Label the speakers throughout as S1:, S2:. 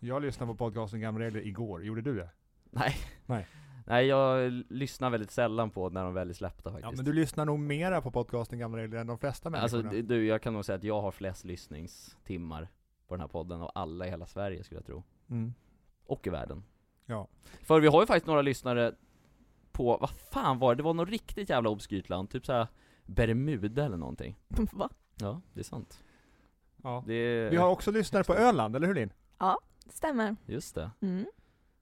S1: Jag lyssnade på podcasten Gamla Regler igår, gjorde du det?
S2: Nej.
S1: Nej.
S2: Nej jag lyssnar väldigt sällan på när de väl är släppta
S1: Ja
S2: faktiskt.
S1: men du lyssnar nog mera på podcasten Gamla Regler än de flesta
S2: alltså
S1: människorna
S2: d- du, jag kan nog säga att jag har flest lyssningstimmar på den här podden av alla i hela Sverige skulle jag tro.
S1: mm.
S2: Och i världen.
S1: Ja.
S2: För vi har ju faktiskt några lyssnare på, vad fan var det? Det var något riktigt jävla obskyrt land, typ såhär Bermuda eller någonting.
S3: Va?
S2: Ja, det är sant.
S1: ja.
S2: Det är,
S1: Vi har också lyssnare på Öland, eller hur Linn?
S3: Stämmer.
S2: just det.
S3: Mm.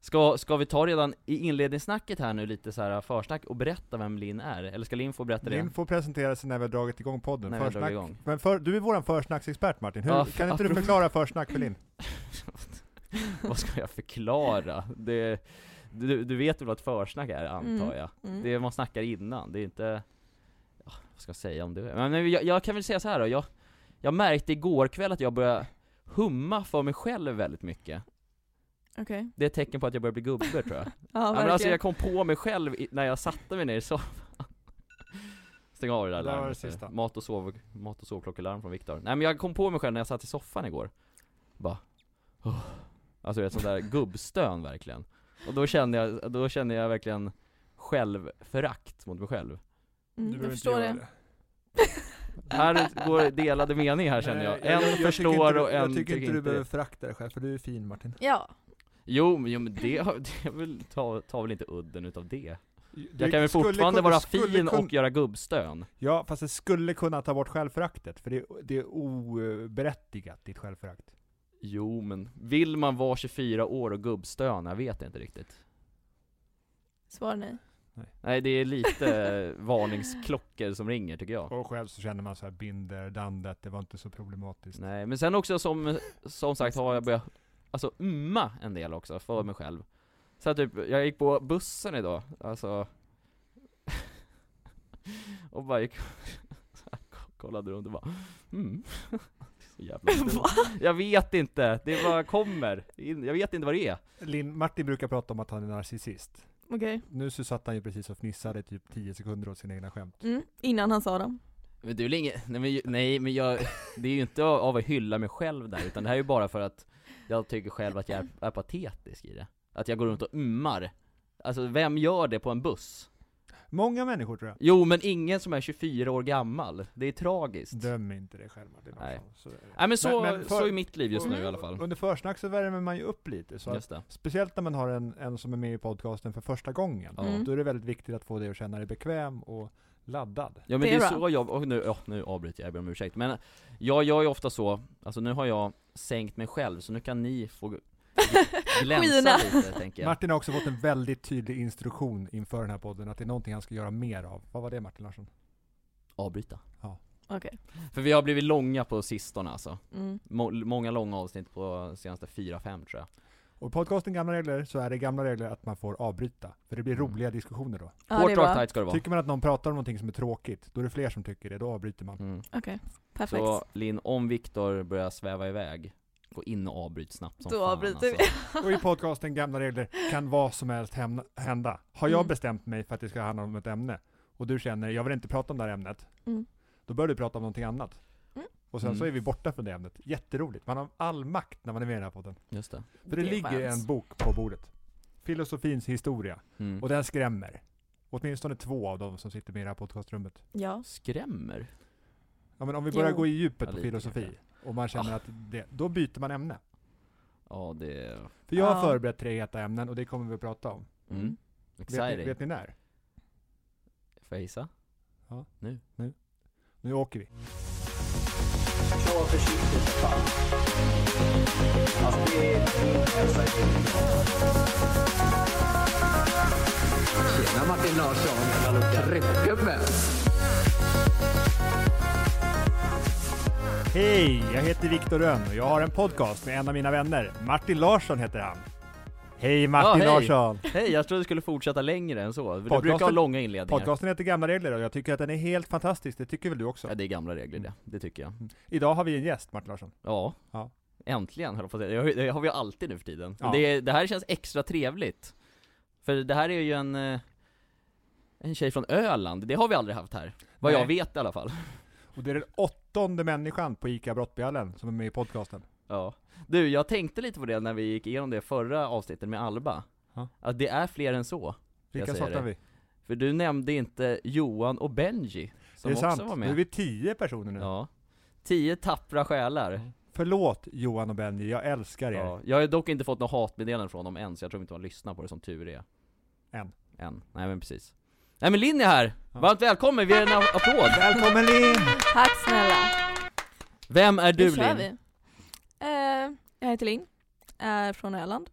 S2: Ska, ska vi ta redan i inledningssnacket här nu lite så här försnack och berätta vem Linn är? Eller ska Linn få berätta det?
S1: Linn får presentera sig när vi har dragit igång podden.
S2: När vi har
S1: Försnack-
S2: dragit igång.
S1: Men för, du är våran försnacksexpert Martin, hur,
S2: Ja,
S1: kan inte du
S2: apropå-
S1: förklara försnack för
S3: Mm,
S1: Linn?
S2: Vad ska jag förklara? Det, du, du vet väl vad ett försnack är antar
S3: Mm.
S2: jag?
S3: Mm.
S2: Det är, man snackar innan, det är inte... ja, Vad ska jag säga om det? Men, men jag, jag kan väl säga så här då, jag, jag märkte igår kväll att jag började humma för mig själv väldigt mycket.
S3: Okej.
S2: Det är ett tecken på att jag börjar bli gubbe tror jag.
S3: Ja,
S2: Ja, men alltså
S3: verkligen.
S2: jag kom på mig själv i, när jag satte mig ner i soffan Stäng av det där
S1: Det var det
S2: larmet
S1: sista.
S2: Mat och, sov, mat och sovklockelarm från Viktor Nej men jag kom på mig själv när jag satt i soffan igår Bara "Åh." Alltså det är ett sånt där gubbstön verkligen Och då kände jag, då kände jag verkligen självförakt mot mig själv
S3: Mm, jag förstår det.
S2: Här går delade meningar här känner jag, en förstår och en
S4: Jag tycker inte du
S2: det.
S4: behöver förakta dig själv, för du är fin Martin.
S3: Ja.
S2: Jo, men- jo men det, har- det är väl, tar, tar väl inte udden utav det
S1: Du
S2: Jag kan väl
S1: skulle
S2: fortfarande
S1: kunna-
S2: vara
S1: skulle
S2: fin
S1: kun-
S2: och göra gubbstön
S1: Ja, fast det skulle kunna ta bort självföraktet, för det är, det är oberättigat, ditt självförakt.
S2: Jo men, vill man vara 24 år och gubbstöna? Jag vet inte riktigt
S3: Svar nej.
S2: Nej det är lite varningsklockor som ringer tycker jag
S1: Och själv så känner man så här binder, dandet, det var inte så problematiskt.
S2: Nej men sen också som, som sagt har jag börjat, alltså umma en del också för mig själv Så att typ, jag gick på bussen idag, alltså Och bara gick så här, k- kollade runt och bara mm. Så jävla dumt.
S3: Va?
S2: Jag vet inte, det bara kommer, In- jag vet inte vad det är
S1: Lin, Martin brukar prata om att han är narcissist.
S3: Okej.
S1: Nu så satt han ju precis och fnissade i typ 10 sekunder åt sina egna skämt.
S3: Mm. Innan han sa dem.
S2: Men du är väl ingen, nej men, ju- nej men jag, det är ju inte av av att hylla mig själv där, utan det här är ju bara för att jag tycker själv att jag är, är patetisk i det. Att jag går runt och ummar. Alltså vem gör det på en buss?
S1: Många människor tror jag.
S2: Jo men ingen som är 24 år gammal, det är tragiskt.
S1: Döm inte dig själv Martin.
S2: Nej.
S1: Larsson. Så är det.
S2: Nej men så,
S1: Men- men för- Mm.
S2: så är mitt liv just nu i alla fall.
S1: Under försnack så värmer man ju upp lite, så att,
S2: Just det.
S1: speciellt när man har en, en som är med i podcasten för första gången.
S2: Ja.
S3: Mm.
S1: Då är det väldigt viktigt att få dig att känna dig bekväm och laddad.
S2: Ja men
S3: Det
S2: det
S3: är
S2: är
S3: bra.
S2: så jag, och nu, ja, nu avbryter jag, jag ber om ursäkt. Men jag gör ju ofta så, alltså nu har jag sänkt mig själv, så nu kan ni få glänsa
S3: Skina.
S2: lite tänker jag.
S1: Martin har också fått en väldigt tydlig instruktion inför den här podden, att det är någonting han ska göra mer av. Vad var det Martin Larsson?
S2: Avbryta.
S3: Okej.
S2: För vi har blivit långa på sistone alltså.
S3: Mm.
S2: Må- många långa avsnitt på senaste 4-5 tror jag.
S1: Och i podcasten Gamla Regler så är det gamla regler att man får avbryta, för det blir
S2: Mm.
S1: roliga diskussioner då.
S3: Ja, det
S2: Hårt
S3: är
S2: och
S3: bra.
S2: tight ska det vara.
S1: Tycker man att någon pratar om någonting som är tråkigt, då är det fler som tycker det, då avbryter man.
S2: Mm.
S3: Okej. Perfekt.
S2: Så Linn, om Viktor börjar sväva iväg, gå in och avbryt snabbt som
S3: Då
S2: fan
S3: avbryter vi.
S2: alltså.
S1: Och i podcasten Gamla Regler kan vad som helst hämna- hända. Har jag
S3: Mm.
S1: bestämt mig för att det ska handla om ett ämne, och du känner jag vill inte prata om det här ämnet,
S3: Mm.
S1: då börjar du prata om någonting annat.
S3: Mm.
S1: Och sen så är
S2: Mm.
S1: vi borta från det ämnet. Jätteroligt, man har all makt när man är med i den här podden.
S2: Just det.
S1: För det,
S3: Det är
S1: ligger
S3: skönt.
S1: en bok på bordet. Filosofins historia.
S2: Mm.
S1: Och den skrämmer. Åtminstone två av dem som sitter med i det här podcastrummet.
S3: Ja.
S2: Skrämmer?
S1: Ja, men om vi börjar
S3: Jo.
S1: gå i djupet
S2: Ja,
S1: på
S2: lite
S1: filosofi,
S2: kanske. Ah.
S1: och man känner att det, då byter man ämne.
S2: Ja det är...
S1: För jag har
S3: Ja.
S1: förberett tre heta ämnen och det kommer vi att prata om.
S2: Mm.
S3: Mm.
S1: Vet ni,
S2: Exciting.
S1: vet ni när?
S2: Får jag gissa?
S1: Ja.
S2: Nu.
S1: Nu åker vi.
S5: Tjena Martin Larsson, tryckgubbe!
S1: Hej, jag heter Viktor Rönn och jag har en podcast med en av mina vänner. Martin Larsson heter han. Hej Martin
S2: Ja, hej.
S1: Larsson!
S2: Hej, jag trodde du skulle fortsätta längre än så. Du
S1: Podcasten-
S2: brukar ha långa inledningar.
S1: Podcasten heter Gamla Regler och jag tycker att den är helt fantastisk, det tycker väl du också?
S2: Ja, det är gamla regler det, det tycker jag.
S1: Idag har vi en gäst, Martin Larsson.
S2: Ja.
S1: Ja.
S2: Äntligen höll jag på att säga, det har- det har vi alltid nu för tiden.
S1: Ja.
S2: Och Det, det här känns extra trevligt. För det här är ju en, eh, en tjej från Öland, det har vi aldrig haft här. Vad
S1: Nej.
S2: jag vet i alla fall.
S1: Och det är den åttonde människan på ICA Brottbjallen som är med i podcasten.
S2: Ja. Du, jag tänkte lite på det när vi gick igenom det förra avsnittet med Alba.
S1: Ja.
S2: Att det är fler än så.
S1: Vilka
S2: säger
S1: saknar
S2: det.
S1: vi?
S2: För du nämnde inte Johan och Benji, som
S1: det är
S2: också
S1: sant,
S2: var
S1: nu är
S2: med.
S1: vi tio personer nu.
S2: Ja. Tio tappra
S1: Mm.
S2: själar.
S1: Förlåt Johan och Benji, jag älskar er.
S2: Ja. Jag har dock inte fått något hatmeddelande från dem än, så jag tror inte de lyssnar på det som tur är.
S1: Än.
S2: Än. Nej men precis. Nej men Linn är här!
S1: Ja.
S2: Varmt välkommen, vi ger en a- applåd!
S1: Välkommen Linn!
S3: Tack snälla.
S2: Vem är
S3: Nu
S2: du
S3: kör vi.
S2: Linn?
S3: Eh, jag heter Linn, är från Öland.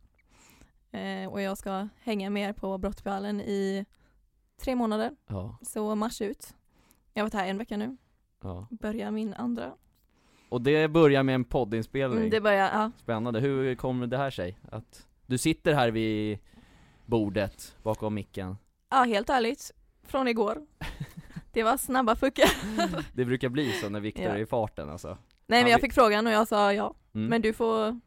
S3: Eh, och jag ska hänga med er på Brottbyhallen i tre månader,
S2: Ja,
S3: så mars ut. Jag har varit här en vecka nu,
S2: ja.
S3: börjar min andra.
S2: Och det börjar med en poddinspelning.
S3: Mm, det börjar, ja.
S2: Spännande, hur kommer det här sig? Att du sitter här vid bordet, bakom micken
S3: ja, helt ärligt, från igår. Det var snabba puckar.
S2: Det brukar bli så när Viktor
S3: Ja.
S2: är i farten alltså
S3: Nej men
S2: Ja,
S3: jag
S2: vi-
S3: fick frågan och jag sa ja,
S2: mm.
S3: men du får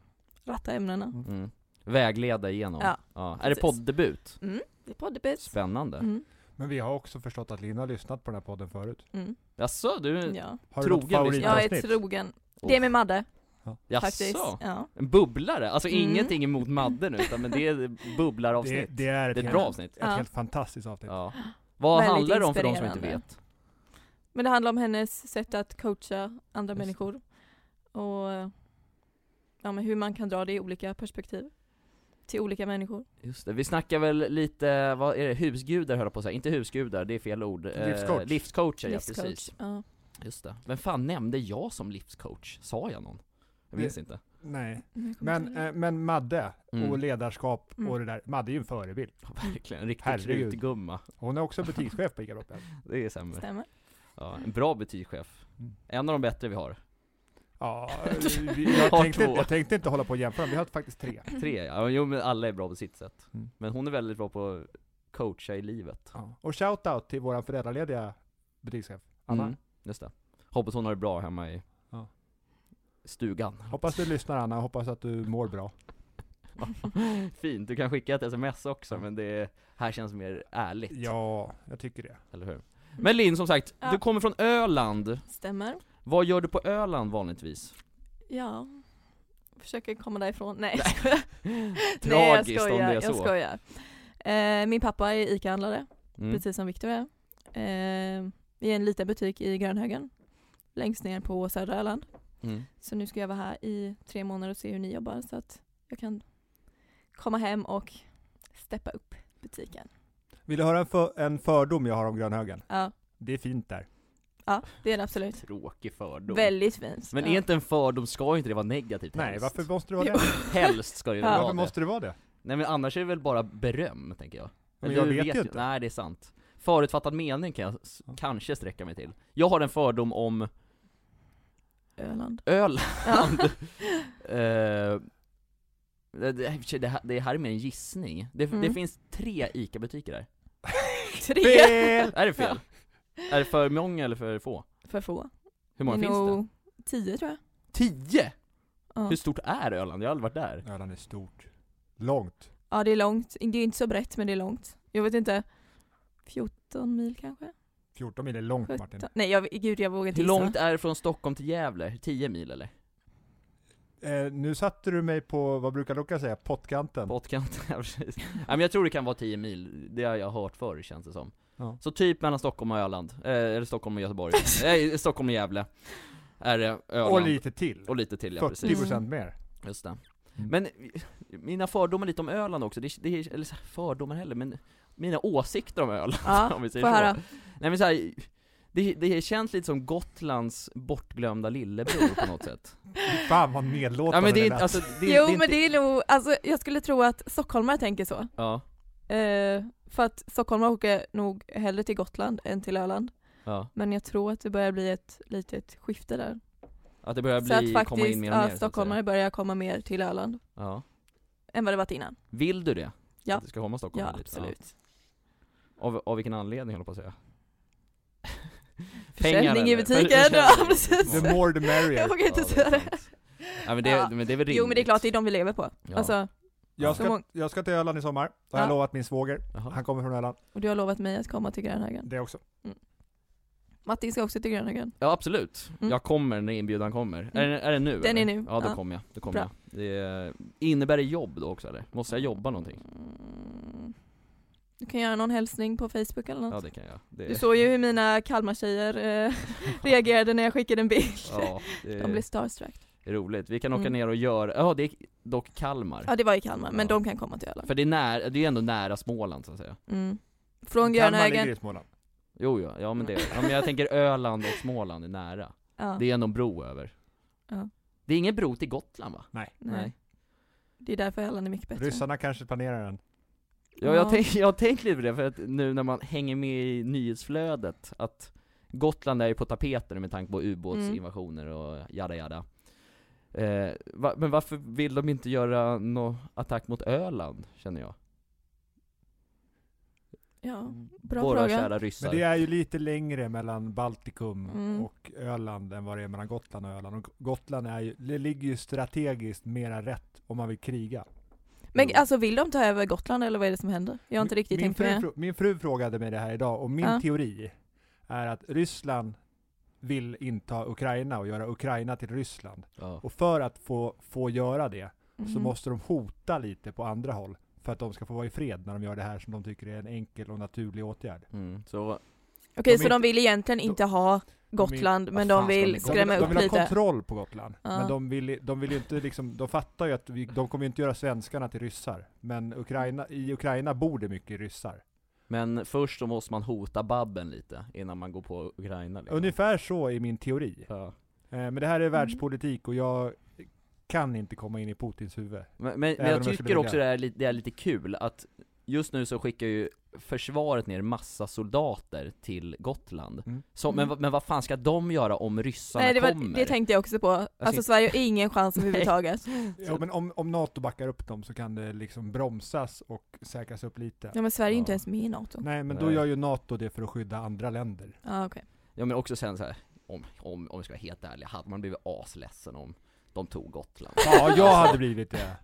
S3: ratta ämnena.
S2: mm. Vägleda igenom
S3: Ja,
S2: Är det
S3: precis.
S2: poddebut?
S3: Det är poddebut.
S2: Spännande
S3: Mm,
S1: Men vi har också förstått att Linn har lyssnat på den här podden förut.
S3: mm,
S2: Jaså, du?
S3: ja.
S1: Har
S2: Trogen
S1: du något
S2: lyssnare.
S3: Jag är
S1: favoritavsnitt?
S3: trogen.
S2: Oh.
S3: Det är med Madde faktiskt.
S2: Jaså?
S3: Ja.
S2: En bubblare? Alltså
S3: Mm.
S2: ingenting emot Madde nu, utan men det är
S1: det,
S2: bubblaravsnitt
S1: det är ett,
S2: Det är ett
S1: helt,
S2: bra avsnitt
S1: ett
S3: Ja.
S1: helt fantastiskt avsnitt.
S2: Ja Vad
S3: Väldigt
S2: handlar det om för de som inte
S3: inspirerande.
S2: vet?
S3: Men det handlar om hennes sätt att coacha andra
S2: Just det.
S3: människor. Och ja, men hur man kan dra det i olika perspektiv. Till olika människor.
S2: Just det, vi snackar väl lite, vad är det, husgudar höll jag på att säga, inte husgudar, det är fel ord Eh,
S1: Livscoach.
S2: Livscoacher, ja
S3: Livscoach.
S2: precis
S3: Ja.
S2: Just det. Vem fan nämnde jag som livscoach? Sa jag någon? Jag minns inte.
S1: Nej.
S3: Mm, jag kommer inte
S1: Men,
S3: ihåg.
S1: eh, men Madde
S2: Mm.
S1: och ledarskap
S3: Mm.
S1: och det där. Madde är ju en förebild.
S2: Verkligen, en riktig
S1: Herregud.
S2: krutgumma.
S1: Hon är också butikschef på Ica Brottby.
S2: Det är sämre.
S3: Stämmer.
S2: Ja, en bra butikschef.
S1: Mm.
S2: En av de bättre vi har.
S1: Ja, vi, jag,
S2: Har
S1: tänkte,
S2: två.
S1: jag tänkte inte hålla på och jämföra, vi har faktiskt tre.
S2: Tre, ja. Jo men alla är bra på sitt sätt.
S1: Mm.
S2: Men hon är väldigt bra på att coacha i livet.
S1: Och shout-out till våran föräldralediga butikschef, Anna.
S2: Mm, Just det. Hoppas hon har det bra hemma i
S1: Ja.
S2: stugan.
S1: Hoppas du lyssnar Anna, hoppas att du mår bra.
S2: Fint, du kan skicka ett sms också men det är, här känns mer ärligt.
S1: Ja, jag tycker det.
S2: Eller hur? Men Linn som sagt,
S3: Mm. Ja.
S2: du kommer från Öland.
S3: Stämmer.
S2: Vad gör du på Öland vanligtvis?
S3: Ja. Försöker komma därifrån. Nej,
S2: Tragiskt
S3: Nej jag
S2: om det
S3: skojar.
S2: är
S3: Jag
S2: så.
S3: skojar. Eh, min pappa är ICA-handlare,
S2: Mm.
S3: precis som Viktor är. Eh, I en liten butik i Grönhögen. Längst ner på södra Öland.
S2: Mm.
S3: Så nu ska jag vara här i tre månader och se hur ni jobbar så att jag kan komma hem och steppa upp butiken.
S1: Vill du höra en, för, en fördom jag har om Grönhögen?
S3: Ja,
S1: Det är fint där.
S3: ja det är det absolut.
S2: Tråkig fördom.
S3: Väldigt fint.
S2: Men
S3: ja.
S2: är inte en fördom, ska inte det vara negativt
S1: Nej,
S2: helst?
S1: varför måste det vara det?
S2: Helst ska det
S3: Ja.
S2: vara
S1: Varför
S2: det.
S1: måste det vara det?
S2: Nej men annars är det väl bara beröm, tänker jag.
S1: Men
S2: Eller
S1: jag
S2: du
S1: vet ju inte.
S2: Nej det är sant. Förutfattad mening kan jag s- kanske sträcka mig till. Jag har en fördom om
S3: Öland.
S2: öl.
S3: Ja.
S2: Eh, det, det, det här- det här är mer en gissning. Det, det
S3: Mm.
S2: finns tre ICA-butiker där.
S3: tre
S1: Fel!
S2: Är det fel? Är det för många eller för få?
S3: för få.
S2: Hur många
S3: Det är
S2: finns det?
S3: nog Tio tror jag.
S2: Tio!
S3: Ja.
S2: Hur stort är Öland? Jag har aldrig varit där.
S1: Öland är stort. Långt.
S3: ja, det är långt. Det är inte så brett men det är långt. Jag vet inte. 14 mil kanske?
S1: 14 mil är långt Martin.
S3: 17? Nej, jag, gud jag vågar inte
S2: Hur
S3: gissa.
S2: långt är det från Stockholm till Gävle? 10 mil eller?
S1: Eh, nu satte du mig på, vad brukar Luca säga, pottkanten.
S2: Pottkanten, ja, precis. Nej men jag tror det kan vara 10 mil, det har jag hört förr känns det som.
S1: Ja.
S2: Så typ mellan Stockholm och Öland, eh, eller Stockholm och Göteborg, nej Stockholm och Gävle är det Öland.
S1: och lite till.
S2: Och lite till ja,
S1: 40
S2: precis.
S1: procent mer.
S2: Just det.
S1: Mm.
S2: Men eh, mina fördomar lite om Öland också, det, det eller så här, fördomar heller, men mina åsikter om Öland
S3: Ja,
S2: om vi säger
S3: får
S2: så.
S3: höra.
S2: Nej men så här, det, det känns lite som Gotlands bortglömda lillebror på något sätt.
S1: Fan vad
S2: ja
S1: nedlåtande
S2: men det är
S1: lät.
S2: inte, alltså, det,
S3: jo
S2: det är
S3: men
S2: inte,
S3: det är nog, alltså jag skulle tro att stockholmare tänker så.
S2: Ja,
S3: Eh, för att stockholmare åker nog hellre till Gotland än till Öland.
S2: ja.
S3: Men jag tror att det börjar bli ett litet skifte där.
S2: Att det börjar
S3: så att
S2: bli,
S3: faktiskt
S2: komma in mer och mer
S3: ja,
S2: så att säga.
S3: stockholmare börjar komma mer till Öland
S2: Ja.
S3: än vad det varit innan.
S2: Vill du det?
S3: Ja.
S2: Att det ska komma Stockholm
S3: Ja
S2: dit?
S3: absolut.
S2: Av, av vilken anledning håller jag på att säga?
S3: Försäljning i
S2: eller?
S3: butiken!
S2: Försäljning.
S3: Ja, precis.
S1: The more the merrier.
S3: Jag vågar inte
S2: Ja,
S3: säga
S2: det. är
S3: det.
S2: sant. Ja, men, det
S3: Ja.
S2: men det är väl rimligt?
S3: Jo men det är klart, det är de vi lever på.
S2: Ja.
S3: Alltså,
S1: Jag
S3: Så
S1: ska,
S3: mång-
S1: jag ska till Öland i sommar, har
S3: Ja.
S1: jag lovat min svåger.
S2: Jaha.
S1: Han kommer från Öland,
S3: och du har lovat mig att komma till Grönhögen.
S1: det också.
S3: Matti ska också till Gröna Grön.
S2: Ja absolut,
S3: Mm.
S2: jag kommer när inbjudan kommer. Är, den- är det nu
S3: Den
S2: eller?
S3: är nu,
S2: Ja då
S3: ja.
S2: kommer jag, då kommer
S3: Bra.
S2: jag. Det är, innebär det jobb då också eller? Måste jag jobba någonting?
S3: Mm. Du kan göra någon hälsning på Facebook eller något.
S2: Ja det kan jag. Det,
S3: Du såg ju hur mina Kalmar-tjejer eh, reagerade när jag skickade en bild.
S2: Ja, det
S3: De blev
S2: är
S3: starstruck.
S2: roligt. Vi kan åka
S3: Mm.
S2: ner och göra, ja det är dock Kalmar.
S3: Ja det var i Kalmar, men
S2: Ja.
S3: de kan komma till Öland.
S2: För det är, nära, det är ändå nära Småland så att säga.
S3: Mm. Från
S1: Kalmar ligger
S3: Grönögen.
S1: i Småland.
S2: Jo ja, ja men det ja, men jag tänker Öland och Småland är nära.
S3: Ja,
S2: Det är ändå en bro över.
S3: Ja.
S2: Det är ingen bro till Gotland va?
S3: nej. Det är därför Öland är mycket bättre.
S1: Ryssarna kanske planerar den.
S2: Ja, jag,
S3: Ja.
S2: tänk, jag har tänkt lite på det, för att nu när man hänger med i nyhetsflödet, att Gotland är ju på tapeten med tanke på ubåtsinvasioner och jada jada. Eh, va, men varför vill de inte göra någon attack mot Öland, känner jag?
S3: Ja, bra
S2: Våra
S3: fråga.
S2: kära ryssar.
S1: Men det är ju lite längre mellan Baltikum
S3: Mm.
S1: och Öland än vad det är mellan Gotland och Öland. Och Gotland är ju, det ligger ju strategiskt mera rätt om man vill kriga.
S3: Men
S2: Jo.
S3: alltså vill de ta över Gotland eller vad är det som händer? Jag har inte
S1: Min-
S3: riktigt
S1: min
S3: tänkt på
S1: fru,
S3: det.
S1: fro- Min fru frågade mig det här idag och min
S3: Ja.
S1: teori är att Ryssland vill inta Ukraina och göra Ukraina till Ryssland.
S2: ja.
S1: Och för att få, få göra det så
S3: Mhm.
S1: måste de hota lite på andra håll för att de ska få vara i fred när de gör det här som de tycker är en enkel och naturlig åtgärd.
S2: Mm. Så,
S3: Okej,
S1: de
S3: så
S1: inte-
S3: de vill egentligen
S1: de-
S3: inte ha Gotland,
S2: vad
S3: men
S2: fan
S3: de
S2: ska de
S3: vill
S2: med
S1: De vill,
S3: skrämma
S1: de
S3: upp
S1: vill ha
S3: lite.
S1: kontroll på Gotland,
S3: Ja.
S1: men de vill, de vill ju inte liksom, de fattar ju att vi, de kommer ju inte göra svenskarna till ryssar. Men Ukraina, i Ukraina bor det mycket ryssar.
S2: men först så måste man hota babben lite, innan man går på Ukraina liksom.
S1: Ungefär så är min teori.
S2: ja.
S1: Eh, Men det här
S3: Mm.
S1: är världspolitik och jag kan inte komma in i Putins huvud.
S2: Men, men, men
S1: Även om
S2: jag
S1: jag skulle
S2: tycker
S1: vilja.
S2: också det är, lite, det är lite kul att just nu så skickar ju försvaret ner massa soldater till Gotland.
S1: Mm.
S2: Så, men,
S3: Mm.
S2: vad- men vad fan ska de göra om ryssarna
S3: Nej, det, var,
S2: kommer?
S3: det tänkte jag också på. Alltså
S2: inte-
S3: Sverige har ingen chans överhuvudtaget.
S1: Ja, men om, om NATO backar upp dem så kan det liksom bromsas och säkras upp lite.
S3: Ja men Sverige är ju inte
S2: Ja. Mm.
S3: ens med i NATO.
S1: Nej, men då
S2: Nej.
S1: gör ju NATO det för att skydda andra länder.
S3: Ja okej.
S2: Ja men också sen så här, om, om, om vi ska vara helt ärliga, hade man blivit asledsen om de tog Gotland?
S1: Ja, jag hade blivit det.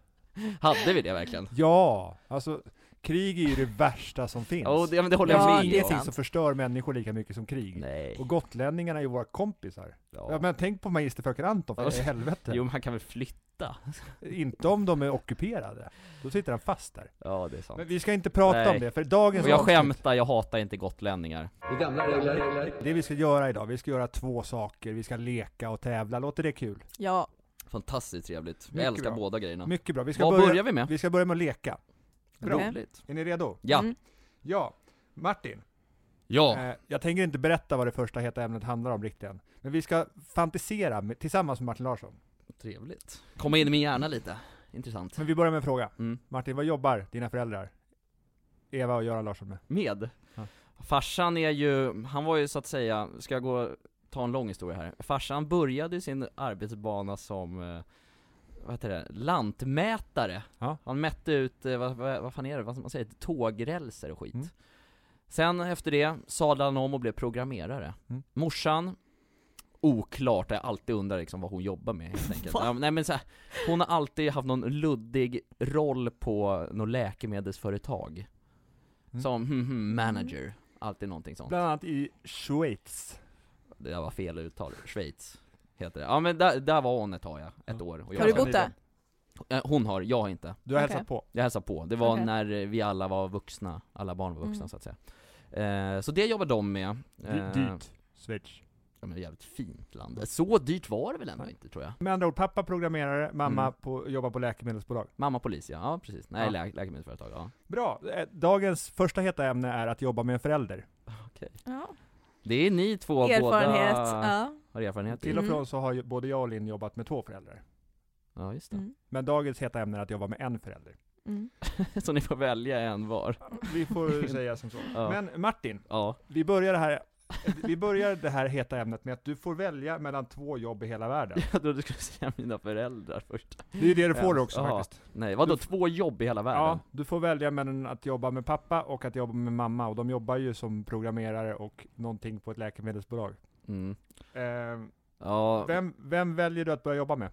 S2: Hade vi det verkligen?
S1: Ja, alltså krig är ju det värsta som finns.
S2: Ja, och det, men det håller
S1: Det
S3: Ja,
S2: jag
S1: finns
S2: med
S3: det är
S1: ingenting
S3: sant.
S1: som förstör människor lika mycket som krig.
S2: om. Nej.
S1: Och gotlänningarna är ju våra kompisar. Ja. men tänk på magisterfröken Anton, för i helvete.
S2: Jo man kan väl flytta?
S1: Inte om de är ockuperade. Då sitter han fast där.
S2: Ja det är sant.
S1: Men vi ska inte prata
S2: Nej.
S1: om det, för dagens
S2: Och jag
S1: avsnitt-
S2: skämtar, jag hatar inte gotlänningar.
S5: Det är gamla regler.
S1: Det vi ska göra idag, vi ska göra två saker. Vi ska leka och tävla, låter det kul?
S3: Ja.
S2: Fantastiskt trevligt. Jag
S1: Mycket
S2: älskar
S1: bra.
S2: båda grejerna.
S1: Mycket bra. Vi ska,
S2: Vad
S1: börja,
S2: börjar vi med?
S1: vi ska börja med att leka. Bra.
S3: Okej.
S2: Roligt.
S1: Är ni redo?
S2: Ja.
S3: Mm.
S1: Ja. Martin,
S2: Ja.
S1: eh, jag tänker inte berätta vad det första heta ämnet handlar om riktigt än. Men vi ska fantisera med, tillsammans med Martin Larsson.
S2: Trevligt. Komma in i min hjärna lite. Intressant.
S1: Men vi börjar med en fråga.
S2: Mm.
S1: Martin, vad jobbar dina föräldrar? Eva och Göran Larsson med?
S2: Med?
S1: Ja.
S2: Farsan är ju, han var ju så att säga, ska jag gå, ta en lång historia här. Farsan började ju sin arbetsbana som, eh, vad heter det, lantmätare.
S1: Ja.
S2: Han mätte ut, eh, vad, vad, vad fan är det, vad man säger, tågrälser och skit.
S1: Mm.
S2: Sen efter det sadlade han om och blev programmerare.
S1: Mm.
S2: Morsan, oklart, jag har alltid undrar liksom vad hon jobbar med helt enkelt. Ja, Nej men så här, hon har alltid haft någon luddig roll på något läkemedelsföretag.
S1: Mm.
S2: Som hmm, hmm, manager, alltid någonting sånt.
S1: Bland annat i Schweiz.
S2: Det där var fel uttal, Schweiz heter det. Ja men där, där var hon ett tag ja, ett
S1: Ja.
S2: år. Och
S1: Har
S2: jag
S3: Har du
S2: var-
S3: bott där?
S2: Eh, Hon har, jag har inte.
S1: Du har
S3: Okej.
S1: hälsat på.
S2: Jag hälsade på, det var
S3: Okej.
S2: när vi alla var vuxna, alla barn var vuxna
S3: Mm.
S2: så att säga. Eh, så det jobbar de med. Eh,
S1: Dyrt. Schweiz.
S2: Ja men jävligt fint land. Så dyrt var det väl ändå inte tror jag?
S1: Med andra ord, pappa programmerare, mamma
S2: Mm.
S1: på, jobbar på läkemedelsbolag.
S2: Mamma polis ja, ja precis. Nej
S1: Ja.
S2: lä- läkemedelsföretag, ja.
S1: Bra. Eh, Dagens första heta ämne är att jobba med en förälder.
S3: Ja.
S2: Det är ni två
S3: Erfarenhet.
S2: båda
S3: Ja.
S2: har erfarenhet i.
S1: Till och
S3: Mm.
S1: från så har ju både jag och Linn jobbat med två föräldrar.
S2: Ja just det.
S3: Mm.
S1: Men dagens heta ämne är att jobba med en förälder.
S3: Mm.
S2: så ni får välja en var.
S1: Vi får säga som så.
S2: Ja.
S1: Men Martin,
S2: Ja.
S1: vi börjar, det här, vi börjar det här heta ämnet med att du får välja mellan två jobb i hela världen.
S2: Jag trodde du skulle säga mina föräldrar först.
S1: Det är ju det du får
S2: Ja.
S1: också
S2: Ja.
S1: faktiskt.
S2: Nej, vadå
S1: Du
S2: två jobb i hela
S1: Ja,
S2: världen?
S1: du får välja mellan att jobba med pappa och att jobba med mamma. Och de jobbar ju som programmerare och någonting på ett läkemedelsbolag.
S2: Mm.
S1: Eh,
S2: Ja,
S1: vem, vem väljer du att börja jobba med?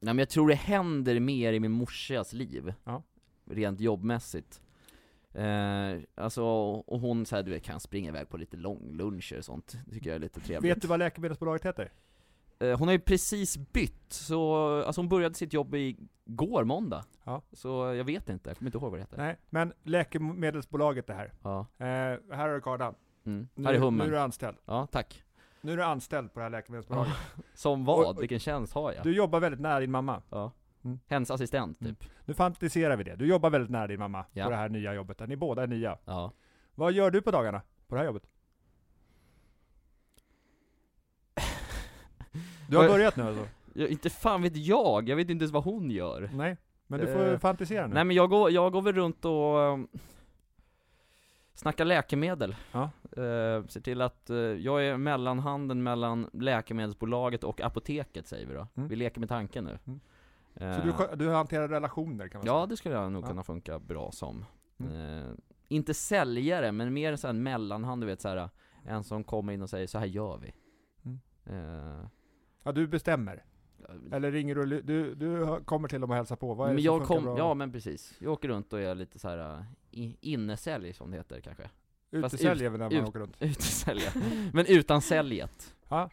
S2: nej men jag tror det händer mer i min morsas liv.
S1: Ja.
S2: Rent jobbmässigt. Eh, alltså, och hon så här, du vet, kan springa iväg på lite långluncher och sånt, Det tycker jag är lite trevligt.
S1: Vet du vad läkemedelsbolaget heter?
S2: Eh, hon har ju precis bytt, så, alltså hon började sitt jobb igår måndag.
S1: Ja.
S2: Så jag vet inte, jag kommer inte ihåg vad det heter.
S1: Nej, men läkemedelsbolaget det här.
S2: Ja.
S1: Eh, här har du kardan.
S2: Mm.
S1: Nu,
S2: Här är
S1: nu är
S2: hummen.
S1: du anställd.
S2: Ja, tack.
S1: Nu är du anställd på det här läkemedelsbolaget.
S2: Som vad?
S1: Och- och-
S2: Vilken tjänst har jag?
S1: Du jobbar väldigt nära din mamma.
S2: Ja.
S1: Mm.
S2: Hens assistent,
S1: Mm.
S2: typ.
S1: Nu fantiserar vi det. Du jobbar väldigt nära din mamma
S2: Ja.
S1: på det här nya jobbet. där Ni båda är nya.
S2: Ja.
S1: Vad gör du på dagarna? På det här jobbet? Du har
S2: Vad-
S1: börjat nu alltså?
S2: Ja, inte fan vet jag, jag vet inte ens vad hon gör.
S1: Nej. Men du får
S2: Eh,
S1: fantisera nu.
S2: Nej men jag går, jag går väl runt och um, snackar läkemedel.
S1: Ja.
S2: Eh, ser till att, eh, jag är mellanhanden mellan läkemedelsbolaget och apoteket säger vi då.
S1: Mm.
S2: Vi leker med tanken nu.
S1: Mm.
S2: Eh,
S1: Så du, skö- du hanterar relationer kan man
S2: ja
S1: säga?
S2: det skulle jag nog
S1: Ja. Mm.
S2: kunna funka bra som. Eh, inte säljare, men mer så här en mellanhand, du vet så här. En som kommer in och säger så här gör vi.
S1: Mm.
S2: Eh,
S1: Ja, du bestämmer? Eller ringer du, och ly- du, du hör- kommer till dem och hälsar på? Vad är
S2: men
S1: det
S2: jag
S1: som
S2: kom,
S1: funkar
S2: ja
S1: bra?
S2: men precis. Jag åker runt och är lite så här eh, i- innesälj som det heter kanske. fast
S1: Utesäljer väl när man
S2: ut-
S1: åker runt?
S2: Utesälja. Men utan säljet.
S1: Ja.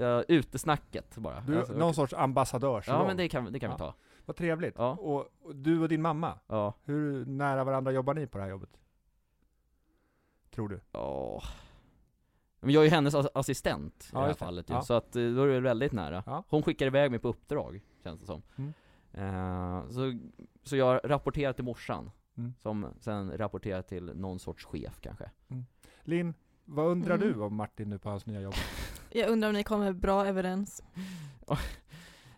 S2: Uh, utesnacket bara.
S1: Du,
S2: Alltså,
S1: någon sorts ambassadörsroll?
S2: ja men det kan, det kan vi ta.
S1: Vad trevligt.
S2: Ja.
S1: Och, och du och din mamma,
S2: Ja.
S1: hur nära varandra jobbar ni på det här jobbet? Tror du?
S2: Ja. Men jag är ju hennes ass- assistent
S1: Ja,
S2: i det här
S1: just det.
S2: fallet ju,
S1: Ja.
S2: så att eh, då är det väldigt nära.
S1: Ja.
S2: Hon skickar iväg mig på uppdrag, känns det som.
S1: Mm.
S2: Eh, så, så jag rapporterar till morsan,
S1: Mm.
S2: som sen rapporterar till någon sorts chef kanske.
S1: Linn, vad undrar
S3: Mm.
S1: du om Martin nu på hans nya jobb?
S3: Jag undrar om ni kommer bra överens.